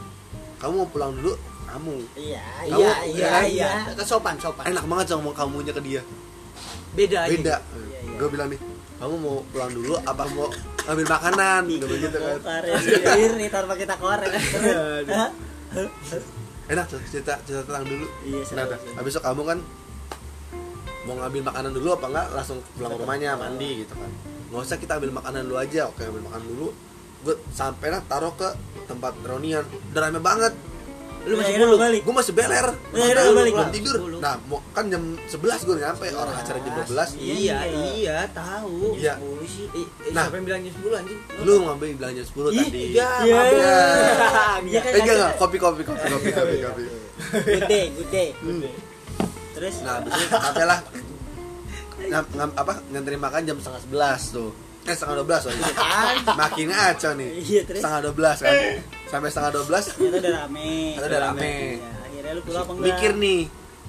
Speaker 4: kamu mau pulang dulu kamu
Speaker 3: iya
Speaker 4: Kamu-
Speaker 3: iya iya
Speaker 1: iya iya sopan sopan
Speaker 4: enak banget sama kamunya ke dia
Speaker 1: beda aja.
Speaker 4: beda
Speaker 3: Iya, iya.
Speaker 4: gue bilang nih kamu mau pulang dulu apa mau ngambil makanan gue bilang gitu kan Iya,
Speaker 3: Korek ya, sendiri tanpa kita korek. Hah?
Speaker 4: enak tuh cerita cerita tenang dulu
Speaker 3: Iya, seru,
Speaker 4: nah, dah.
Speaker 3: seru.
Speaker 4: habis itu kamu kan mau ngambil makanan dulu apa enggak langsung pulang ke rumahnya mandi gitu kan nggak usah kita ambil makanan dulu aja oke ambil makanan dulu gue sampai lah taruh ke tempat reunian udah rame banget
Speaker 1: lu masih
Speaker 3: Akhirnya lu
Speaker 1: belum
Speaker 3: balik.
Speaker 4: gue masih beler
Speaker 3: Iya, iya,
Speaker 4: Makan,
Speaker 3: balik.
Speaker 4: belum tidur
Speaker 1: 10.
Speaker 4: nah mau- kan jam 11 gue nyampe orang acara jam 12
Speaker 3: Iya,
Speaker 1: iya
Speaker 3: iya.
Speaker 1: iya tahu
Speaker 4: Iya.
Speaker 1: Sepuluh sih I- i-
Speaker 4: Nah.
Speaker 1: siapa yang bilang jam sepuluh anjing
Speaker 4: lu ngambil belanja 10
Speaker 1: Ih,
Speaker 4: tadi
Speaker 1: iya,
Speaker 3: Iya.
Speaker 1: mabuk.
Speaker 3: Iya kan
Speaker 4: eh enggak enggak
Speaker 3: acara-
Speaker 4: kopi kopi kopi kopi kopi kopi
Speaker 3: Good day, good day. Terus
Speaker 4: Hmm. Nah, abis itu sampai lah ngam- ngam- apa ngantri makan jam setengah sebelas tuh eh setengah dua belas sorry
Speaker 3: Ah,
Speaker 4: makin ngaco nih
Speaker 3: Iya, terus?
Speaker 4: setengah dua belas kan sampai setengah dua belas
Speaker 3: ternyata udah rame.
Speaker 4: Ternyata udah rame.
Speaker 3: Iya, akhirnya lu pulang apa enggak?
Speaker 4: mikir nih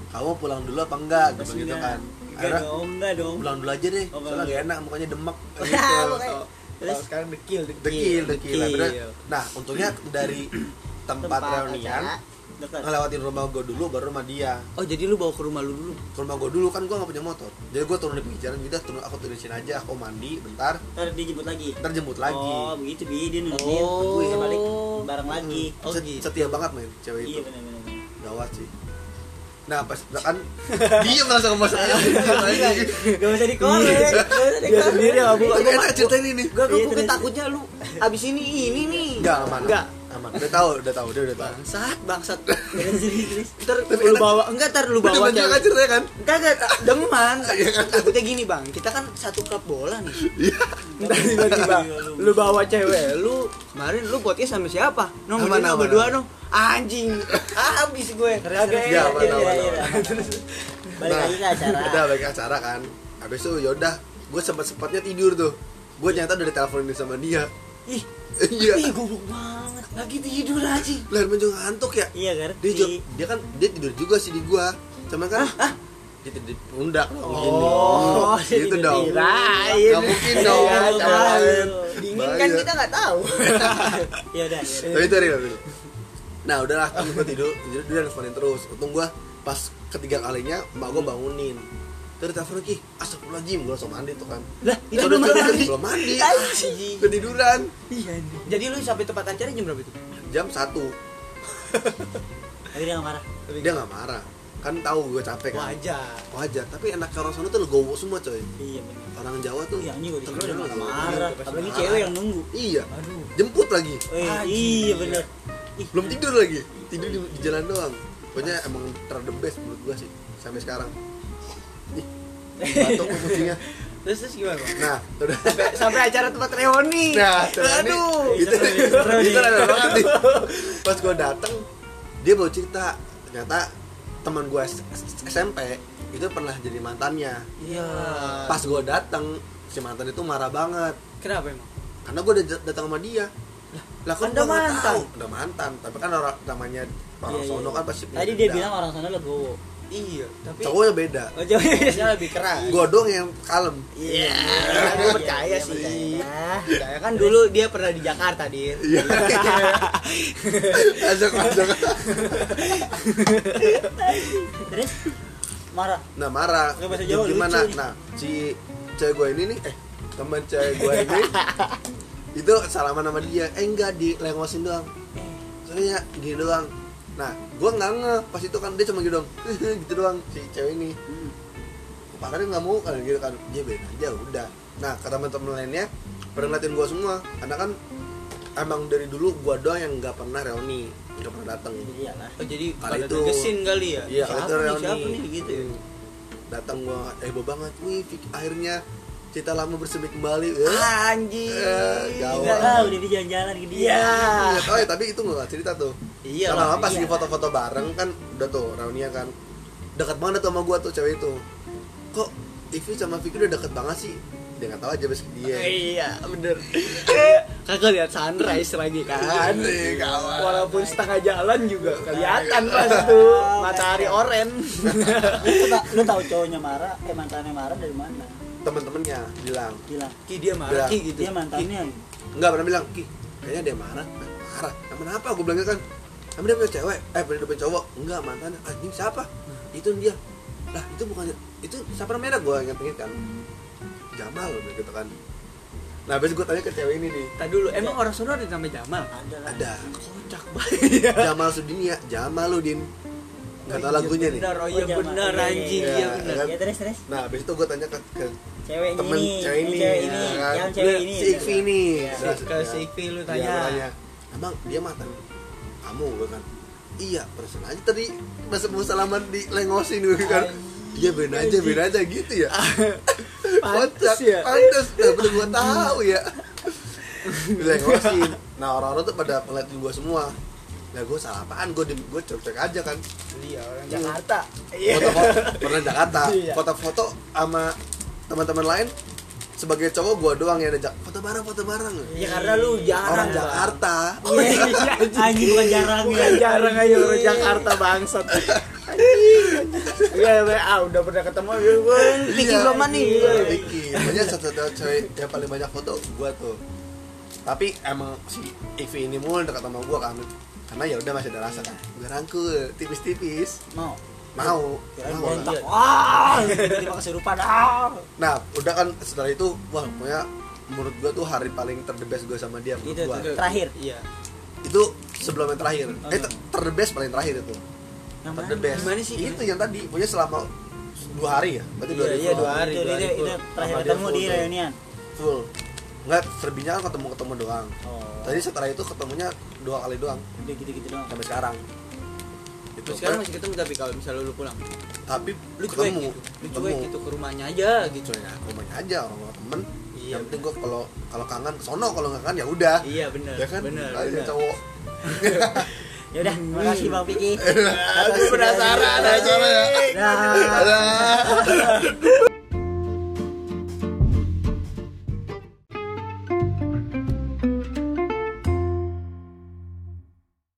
Speaker 4: kamu pulang dulu apa enggak
Speaker 3: Pas
Speaker 4: gitu gitu
Speaker 3: enggak.
Speaker 4: kan
Speaker 3: Enggak
Speaker 4: akhirnya
Speaker 3: dong, enggak dong.
Speaker 4: pulang dulu aja deh
Speaker 3: Oh,
Speaker 4: soalnya
Speaker 3: pulang.
Speaker 4: gak enak mukanya demek
Speaker 3: Ah,
Speaker 4: gitu
Speaker 3: makanya.
Speaker 1: Terus
Speaker 3: Terus
Speaker 1: sekarang dekil dekil
Speaker 4: dekil
Speaker 3: Iya,
Speaker 4: dekil
Speaker 3: Dekil.
Speaker 4: Akhirnya, nah untungnya dari tempat reunian
Speaker 3: acara, dekat.
Speaker 4: ngelewatin rumah gue dulu baru rumah dia
Speaker 1: oh jadi lu bawa ke rumah lu dulu
Speaker 4: ke rumah gue dulu kan gue gak punya motor jadi gue turun di pinggir jalan udah turun aku turun di sini aja aku mandi bentar
Speaker 3: Ntar dijemput lagi.
Speaker 4: ntar jemput lagi
Speaker 3: Oh, begitu bi dia nungguin
Speaker 1: Oh.
Speaker 3: nungguin, dia balik bareng lagi.
Speaker 1: Oh,
Speaker 4: Set-
Speaker 1: gitu.
Speaker 4: setia banget men cewek
Speaker 3: Iya
Speaker 4: Hmm, itu
Speaker 3: benar benar.
Speaker 4: gawat sih nah pas kan dia merasa kemasannya
Speaker 1: Iya,
Speaker 3: Gak usah
Speaker 1: Dia
Speaker 3: dikorek. Gak usah
Speaker 4: Hmm.
Speaker 3: dikorek.
Speaker 1: Iya, sendiri yang mabuk.
Speaker 4: Ini enak cerita ini nih
Speaker 1: Enggak, gue
Speaker 3: Iya,
Speaker 1: bukan
Speaker 3: terus.
Speaker 1: takutnya lu abis ini ini nih.
Speaker 4: Enggak aman
Speaker 1: Enggak.
Speaker 4: aman udah tahu udah tahu dia udah tahu
Speaker 1: Bangsat, bangsat.
Speaker 3: Jangan sendiri, terus.
Speaker 1: Ntar
Speaker 4: Tapi
Speaker 1: lu
Speaker 4: enak.
Speaker 1: bawa, enggak ntar lu
Speaker 4: udah
Speaker 1: bawa
Speaker 4: banyak kan
Speaker 1: cewek.
Speaker 4: ceritanya kan
Speaker 1: Enggak, enggak, demen.
Speaker 4: Iya.
Speaker 1: Takutnya gini bang, kita kan satu klub bola nih. Ntar tiba-tiba lu bawa cewek lu kemarin lu podcast sama siapa? Nong ini
Speaker 4: Sama nama,
Speaker 1: berdua
Speaker 4: nama.
Speaker 1: nong anjing habis gue.
Speaker 3: Terus, terus,
Speaker 1: Kagak
Speaker 4: Iya,
Speaker 1: enak.
Speaker 4: mana,
Speaker 3: iya,
Speaker 4: mana,
Speaker 3: iya, iya. Balik lagi ke acara.
Speaker 4: Nah, udah balik ke acara kan habis itu yaudah gue sempat sempatnya tidur tuh gue nyata udah diteleponin sama dia
Speaker 3: Ih,
Speaker 4: iya
Speaker 3: ih goblok banget.
Speaker 1: lagi tidur aja
Speaker 4: lah emang juga ngantuk ya
Speaker 3: Iya kan?
Speaker 4: dia juga, dia kan dia tidur juga sih di gua cuman kan dia tidur di pundak dong gini.
Speaker 1: Oh,
Speaker 3: tidur
Speaker 4: gitu dong
Speaker 3: di
Speaker 1: lain.
Speaker 4: Nggak mungkin dong
Speaker 1: Iya,
Speaker 4: sama
Speaker 1: tahu.
Speaker 4: lain.
Speaker 1: dingin kan
Speaker 4: Bahaya.
Speaker 1: kita nggak tahu
Speaker 3: Iya udah. iya udah.
Speaker 4: tapi itu real real. Eh. nah udahlah kan gua tidur tidur dia nelfonin terus untung gua pas ketiga kalinya mbak gua bangunin terus telepon lagi astagfirullahaladzim gua langsung mandi tuh kan
Speaker 1: lah itu
Speaker 4: Udah,
Speaker 1: belum
Speaker 4: udah,
Speaker 1: mandi
Speaker 4: belum mandi
Speaker 1: Anjing.
Speaker 4: ketiduran
Speaker 3: Iya. anjing.
Speaker 1: jadi lu sampai tempat acara jam berapa itu
Speaker 4: jam satu
Speaker 3: Tapi dia nggak marah.
Speaker 4: dia nggak marah kan tahu gua capek kan
Speaker 1: wajar
Speaker 4: wajar tapi enak orang sana tuh legowo semua coy
Speaker 3: Iya benar.
Speaker 4: orang Jawa tuh
Speaker 3: Iya anjing gua disuruh
Speaker 4: terkenal
Speaker 3: dia nggak
Speaker 4: legowo.
Speaker 3: marah.
Speaker 1: Pasti
Speaker 3: Apalagi
Speaker 1: marah.
Speaker 3: cewek yang nunggu.
Speaker 4: iya
Speaker 1: aduh
Speaker 4: jemput lagi
Speaker 3: Eh,
Speaker 1: Anjing.
Speaker 3: iya benar. Ih,
Speaker 4: belum tidur lagi tidur di, di jalan doang pokoknya emang ter the best menurut gua sih sampai sekarang Ih, batuk gua kucingnya
Speaker 1: terus terus gimana Bang?
Speaker 4: nah udah
Speaker 1: sampai, sampai acara tempat reuni
Speaker 4: nah Gitu.
Speaker 1: aduh
Speaker 4: itu
Speaker 3: Seru nih, seru nih.
Speaker 4: itu rada banget nih pas gua datang dia baru cerita ternyata teman gua S- S- SMP itu pernah jadi mantannya
Speaker 1: iya
Speaker 4: pas gua datang si mantan itu marah banget
Speaker 1: kenapa emang
Speaker 4: karena gue udah dat- datang sama dia lah kan
Speaker 1: Anda
Speaker 4: gua nggak
Speaker 1: mantan.
Speaker 4: tahu. udah mantan tapi kan orang namanya orang
Speaker 3: Iya, iya.
Speaker 4: sono kan pasti punya
Speaker 3: Tadi dia
Speaker 4: dendam.
Speaker 3: bilang orang sana legowo.
Speaker 1: iya tapi
Speaker 4: cowoknya beda
Speaker 3: Oh, jauh.
Speaker 1: cowoknya lebih keras
Speaker 4: gue dong yang kalem
Speaker 1: Iya,
Speaker 3: Iya,
Speaker 1: gue percaya
Speaker 3: iya,
Speaker 1: sih.
Speaker 3: percaya.
Speaker 1: Percaya kan dulu dia pernah di Jakarta, Dir.
Speaker 4: iya Ajak, ajak.
Speaker 3: Terus marah.
Speaker 4: nah marah
Speaker 3: Nggak bahasa Jawa,
Speaker 4: gimana
Speaker 3: lucu nih.
Speaker 4: nah si cewek gue ini nih eh teman cewek gue ini itu salaman sama dia eh enggak dilengosin doang soalnya gini doang nah gue nggak nge pas itu kan dia cuma gitu doang gitu doang si cewek ini
Speaker 3: Hmm.
Speaker 4: Padahal nggak mau kan gitu kan dia beda aja udah nah kata teman-teman lainnya pernah ngeliatin gue semua karena kan emang dari dulu gue doang yang nggak pernah reuni nggak pernah datang
Speaker 3: Iyalah.
Speaker 1: Oh, jadi
Speaker 4: Kali
Speaker 1: pada
Speaker 4: itu-
Speaker 1: tergesin kali ya?
Speaker 4: Iya,
Speaker 1: siapa
Speaker 4: itu
Speaker 1: nih,
Speaker 4: reuni.
Speaker 1: siapa nih gitu ya?
Speaker 4: Hmm. Datang gua heboh banget. Wih, Vicky, akhirnya cita lama bersemi kembali. Eh,
Speaker 1: Anjing.
Speaker 4: Eh, gawat.
Speaker 3: Enggak tahu dia di jalan-jalan ke dia.
Speaker 1: Iya.
Speaker 4: nggak tahu ya, tapi itu nggak cerita tuh.
Speaker 1: Iya lah.
Speaker 4: Lama-lama pas
Speaker 3: iya.
Speaker 4: di foto-foto bareng kan udah tuh reunian kan. Dekat banget tuh sama gua tuh cewek itu. Kok Ivi sama Vicky udah deket banget sih? Dia nggak tahu aja bes dia.
Speaker 1: Iya, bener. Kakak lihat sunrise lagi kan.
Speaker 4: Anjing, kawan.
Speaker 1: Walaupun setengah jalan juga
Speaker 4: Iya,
Speaker 1: kelihatan pas tuh matahari oren.
Speaker 3: Lu ta- Lu tahu cowoknya marah, eh mantannya marah dari mana?
Speaker 4: Temen-temennya bilang,
Speaker 3: Gila.
Speaker 1: Ki dia marah
Speaker 4: Iya.
Speaker 1: Ki gitu.
Speaker 3: Dia mantannya. ya?
Speaker 4: nggak pernah bilang, Ki, kayaknya dia marah. Nah, Marah. Emang kenapa? Gue bilang kan, emang dia punya cewek? Eh, punya dia punya cowok? Enggak, mantannya. Anjing siapa? Itu dia. Lah, itu bukannya itu siapa namanya gue inget-inget kan. Jamal gitu kan. Nah, habis gue tanya ke cewek ini nih.
Speaker 1: Tadi dulu emang orang sono ada namanya Jamal.
Speaker 3: Ada lah.
Speaker 4: Ada
Speaker 1: Kocak banget.
Speaker 4: Jamal Sudinia, Jamal lu Din. Enggak tahu
Speaker 1: Oh iya
Speaker 4: lagunya nih.
Speaker 1: Benar, oh iya
Speaker 3: Oh, Jamal.
Speaker 1: benar
Speaker 3: Iya, iya,
Speaker 1: anjing,
Speaker 4: iya.
Speaker 1: iya benar.
Speaker 4: Kan?
Speaker 3: Ya terus terus
Speaker 4: Nah, habis itu gue tanya ke, ke
Speaker 3: ceweknya
Speaker 4: temen
Speaker 3: ini,
Speaker 4: cewek ini,
Speaker 1: iya,
Speaker 3: cewek ini,
Speaker 4: ya kan?
Speaker 3: yang cewek ini.
Speaker 4: si Ikvi ini.
Speaker 3: Iya.
Speaker 4: Nah,
Speaker 1: Si- Ke
Speaker 4: ya.
Speaker 1: si Ikvi lu
Speaker 4: Iya,
Speaker 1: tanya.
Speaker 4: gua Emang dia mantan kamu gue kan. Iya, persen aja tadi pas mau salaman di lengosin gue kan. Iya bener aja, bener aja gitu ya.
Speaker 1: Pantes ya.
Speaker 4: Pantes, nah, bener gue tahu ya. Dilengosin. Nah orang-orang tuh pada ngeliatin gue semua. Nah gue salah apaan, gue gue cek-cek aja kan.
Speaker 1: Iya, orang
Speaker 4: Hmm.
Speaker 1: Jakarta.
Speaker 4: Foto-foto pernah Jakarta,
Speaker 1: Iya.
Speaker 4: foto-foto sama teman-teman lain sebagai cowok gue doang yang ajak foto bareng foto bareng
Speaker 1: Ya karena lu jarang
Speaker 4: orang
Speaker 1: Bang.
Speaker 4: Jakarta
Speaker 3: Iya, iya, anjing bukan jarang ya.
Speaker 1: Bukan Iya, jarang aja orang Jakarta bangsat. Iya, iya, ah udah pernah ketemu gue Vicky
Speaker 4: Iya.
Speaker 1: belum mandi.
Speaker 4: Iya, Vicky. Makanya satu-satu cewek yang paling banyak foto gua tuh. Tapi emang si Ivi ini mulu dekat sama gua kan. Karena ya udah masih ada rasa kan. Gua rangkul tipis-tipis.
Speaker 3: Mau.
Speaker 4: Mau.
Speaker 3: Kirain
Speaker 4: Mau
Speaker 3: bontak.
Speaker 4: lah.
Speaker 3: Wah, tiba-tiba kesurupan. Ah.
Speaker 4: Nah, udah kan setelah itu wah pokoknya menurut gua tuh hari paling terdebes gua sama dia menurut
Speaker 3: Itu
Speaker 4: gua.
Speaker 3: tuh. Terakhir.
Speaker 1: Iya.
Speaker 4: Itu sebelum yang terakhir.
Speaker 3: Oh,
Speaker 4: Eh
Speaker 3: iya.
Speaker 4: terdebes paling terakhir itu.
Speaker 3: Yang mana?
Speaker 4: Terdebes.
Speaker 1: Gimana sih?
Speaker 4: Itu yang tadi punya selama dua hari ya? Berarti dua
Speaker 1: Iya,
Speaker 4: hari
Speaker 1: iya,
Speaker 4: full.
Speaker 1: dua hari,
Speaker 3: Itu,
Speaker 1: dua
Speaker 3: itu,
Speaker 1: hari
Speaker 3: itu
Speaker 1: full.
Speaker 3: terakhir
Speaker 4: Sama dia
Speaker 3: ketemu di
Speaker 4: full tuh.
Speaker 3: reunian.
Speaker 4: Full. Enggak, serbinya kan ketemu-ketemu doang.
Speaker 3: Oh.
Speaker 4: Tadi setelah itu ketemunya dua kali doang
Speaker 3: Udah gitu-gitu doang.
Speaker 4: sampai sekarang. Itu eh,
Speaker 1: Terus sekarang masih ketemu tapi kalau misalnya lu pulang,
Speaker 4: tapi
Speaker 1: lu cuek
Speaker 4: ketemu,
Speaker 1: gitu. Lu
Speaker 4: ketemu.
Speaker 1: cuek gitu ke rumahnya aja gitu.
Speaker 4: Cueknya ke rumahnya aja orang orang temen.
Speaker 1: Iya.
Speaker 4: Yang penting gua kalau kalau kangen ke sono, kalau nggak kangen ya udah.
Speaker 1: Iya benar.
Speaker 4: Ya kan?
Speaker 1: Benar.
Speaker 4: Aja
Speaker 1: benar.
Speaker 4: cowok.
Speaker 3: ya udah makasih bang Piki
Speaker 4: Iya, ya? Aku penasaran aja.
Speaker 3: Dah.
Speaker 4: Alah.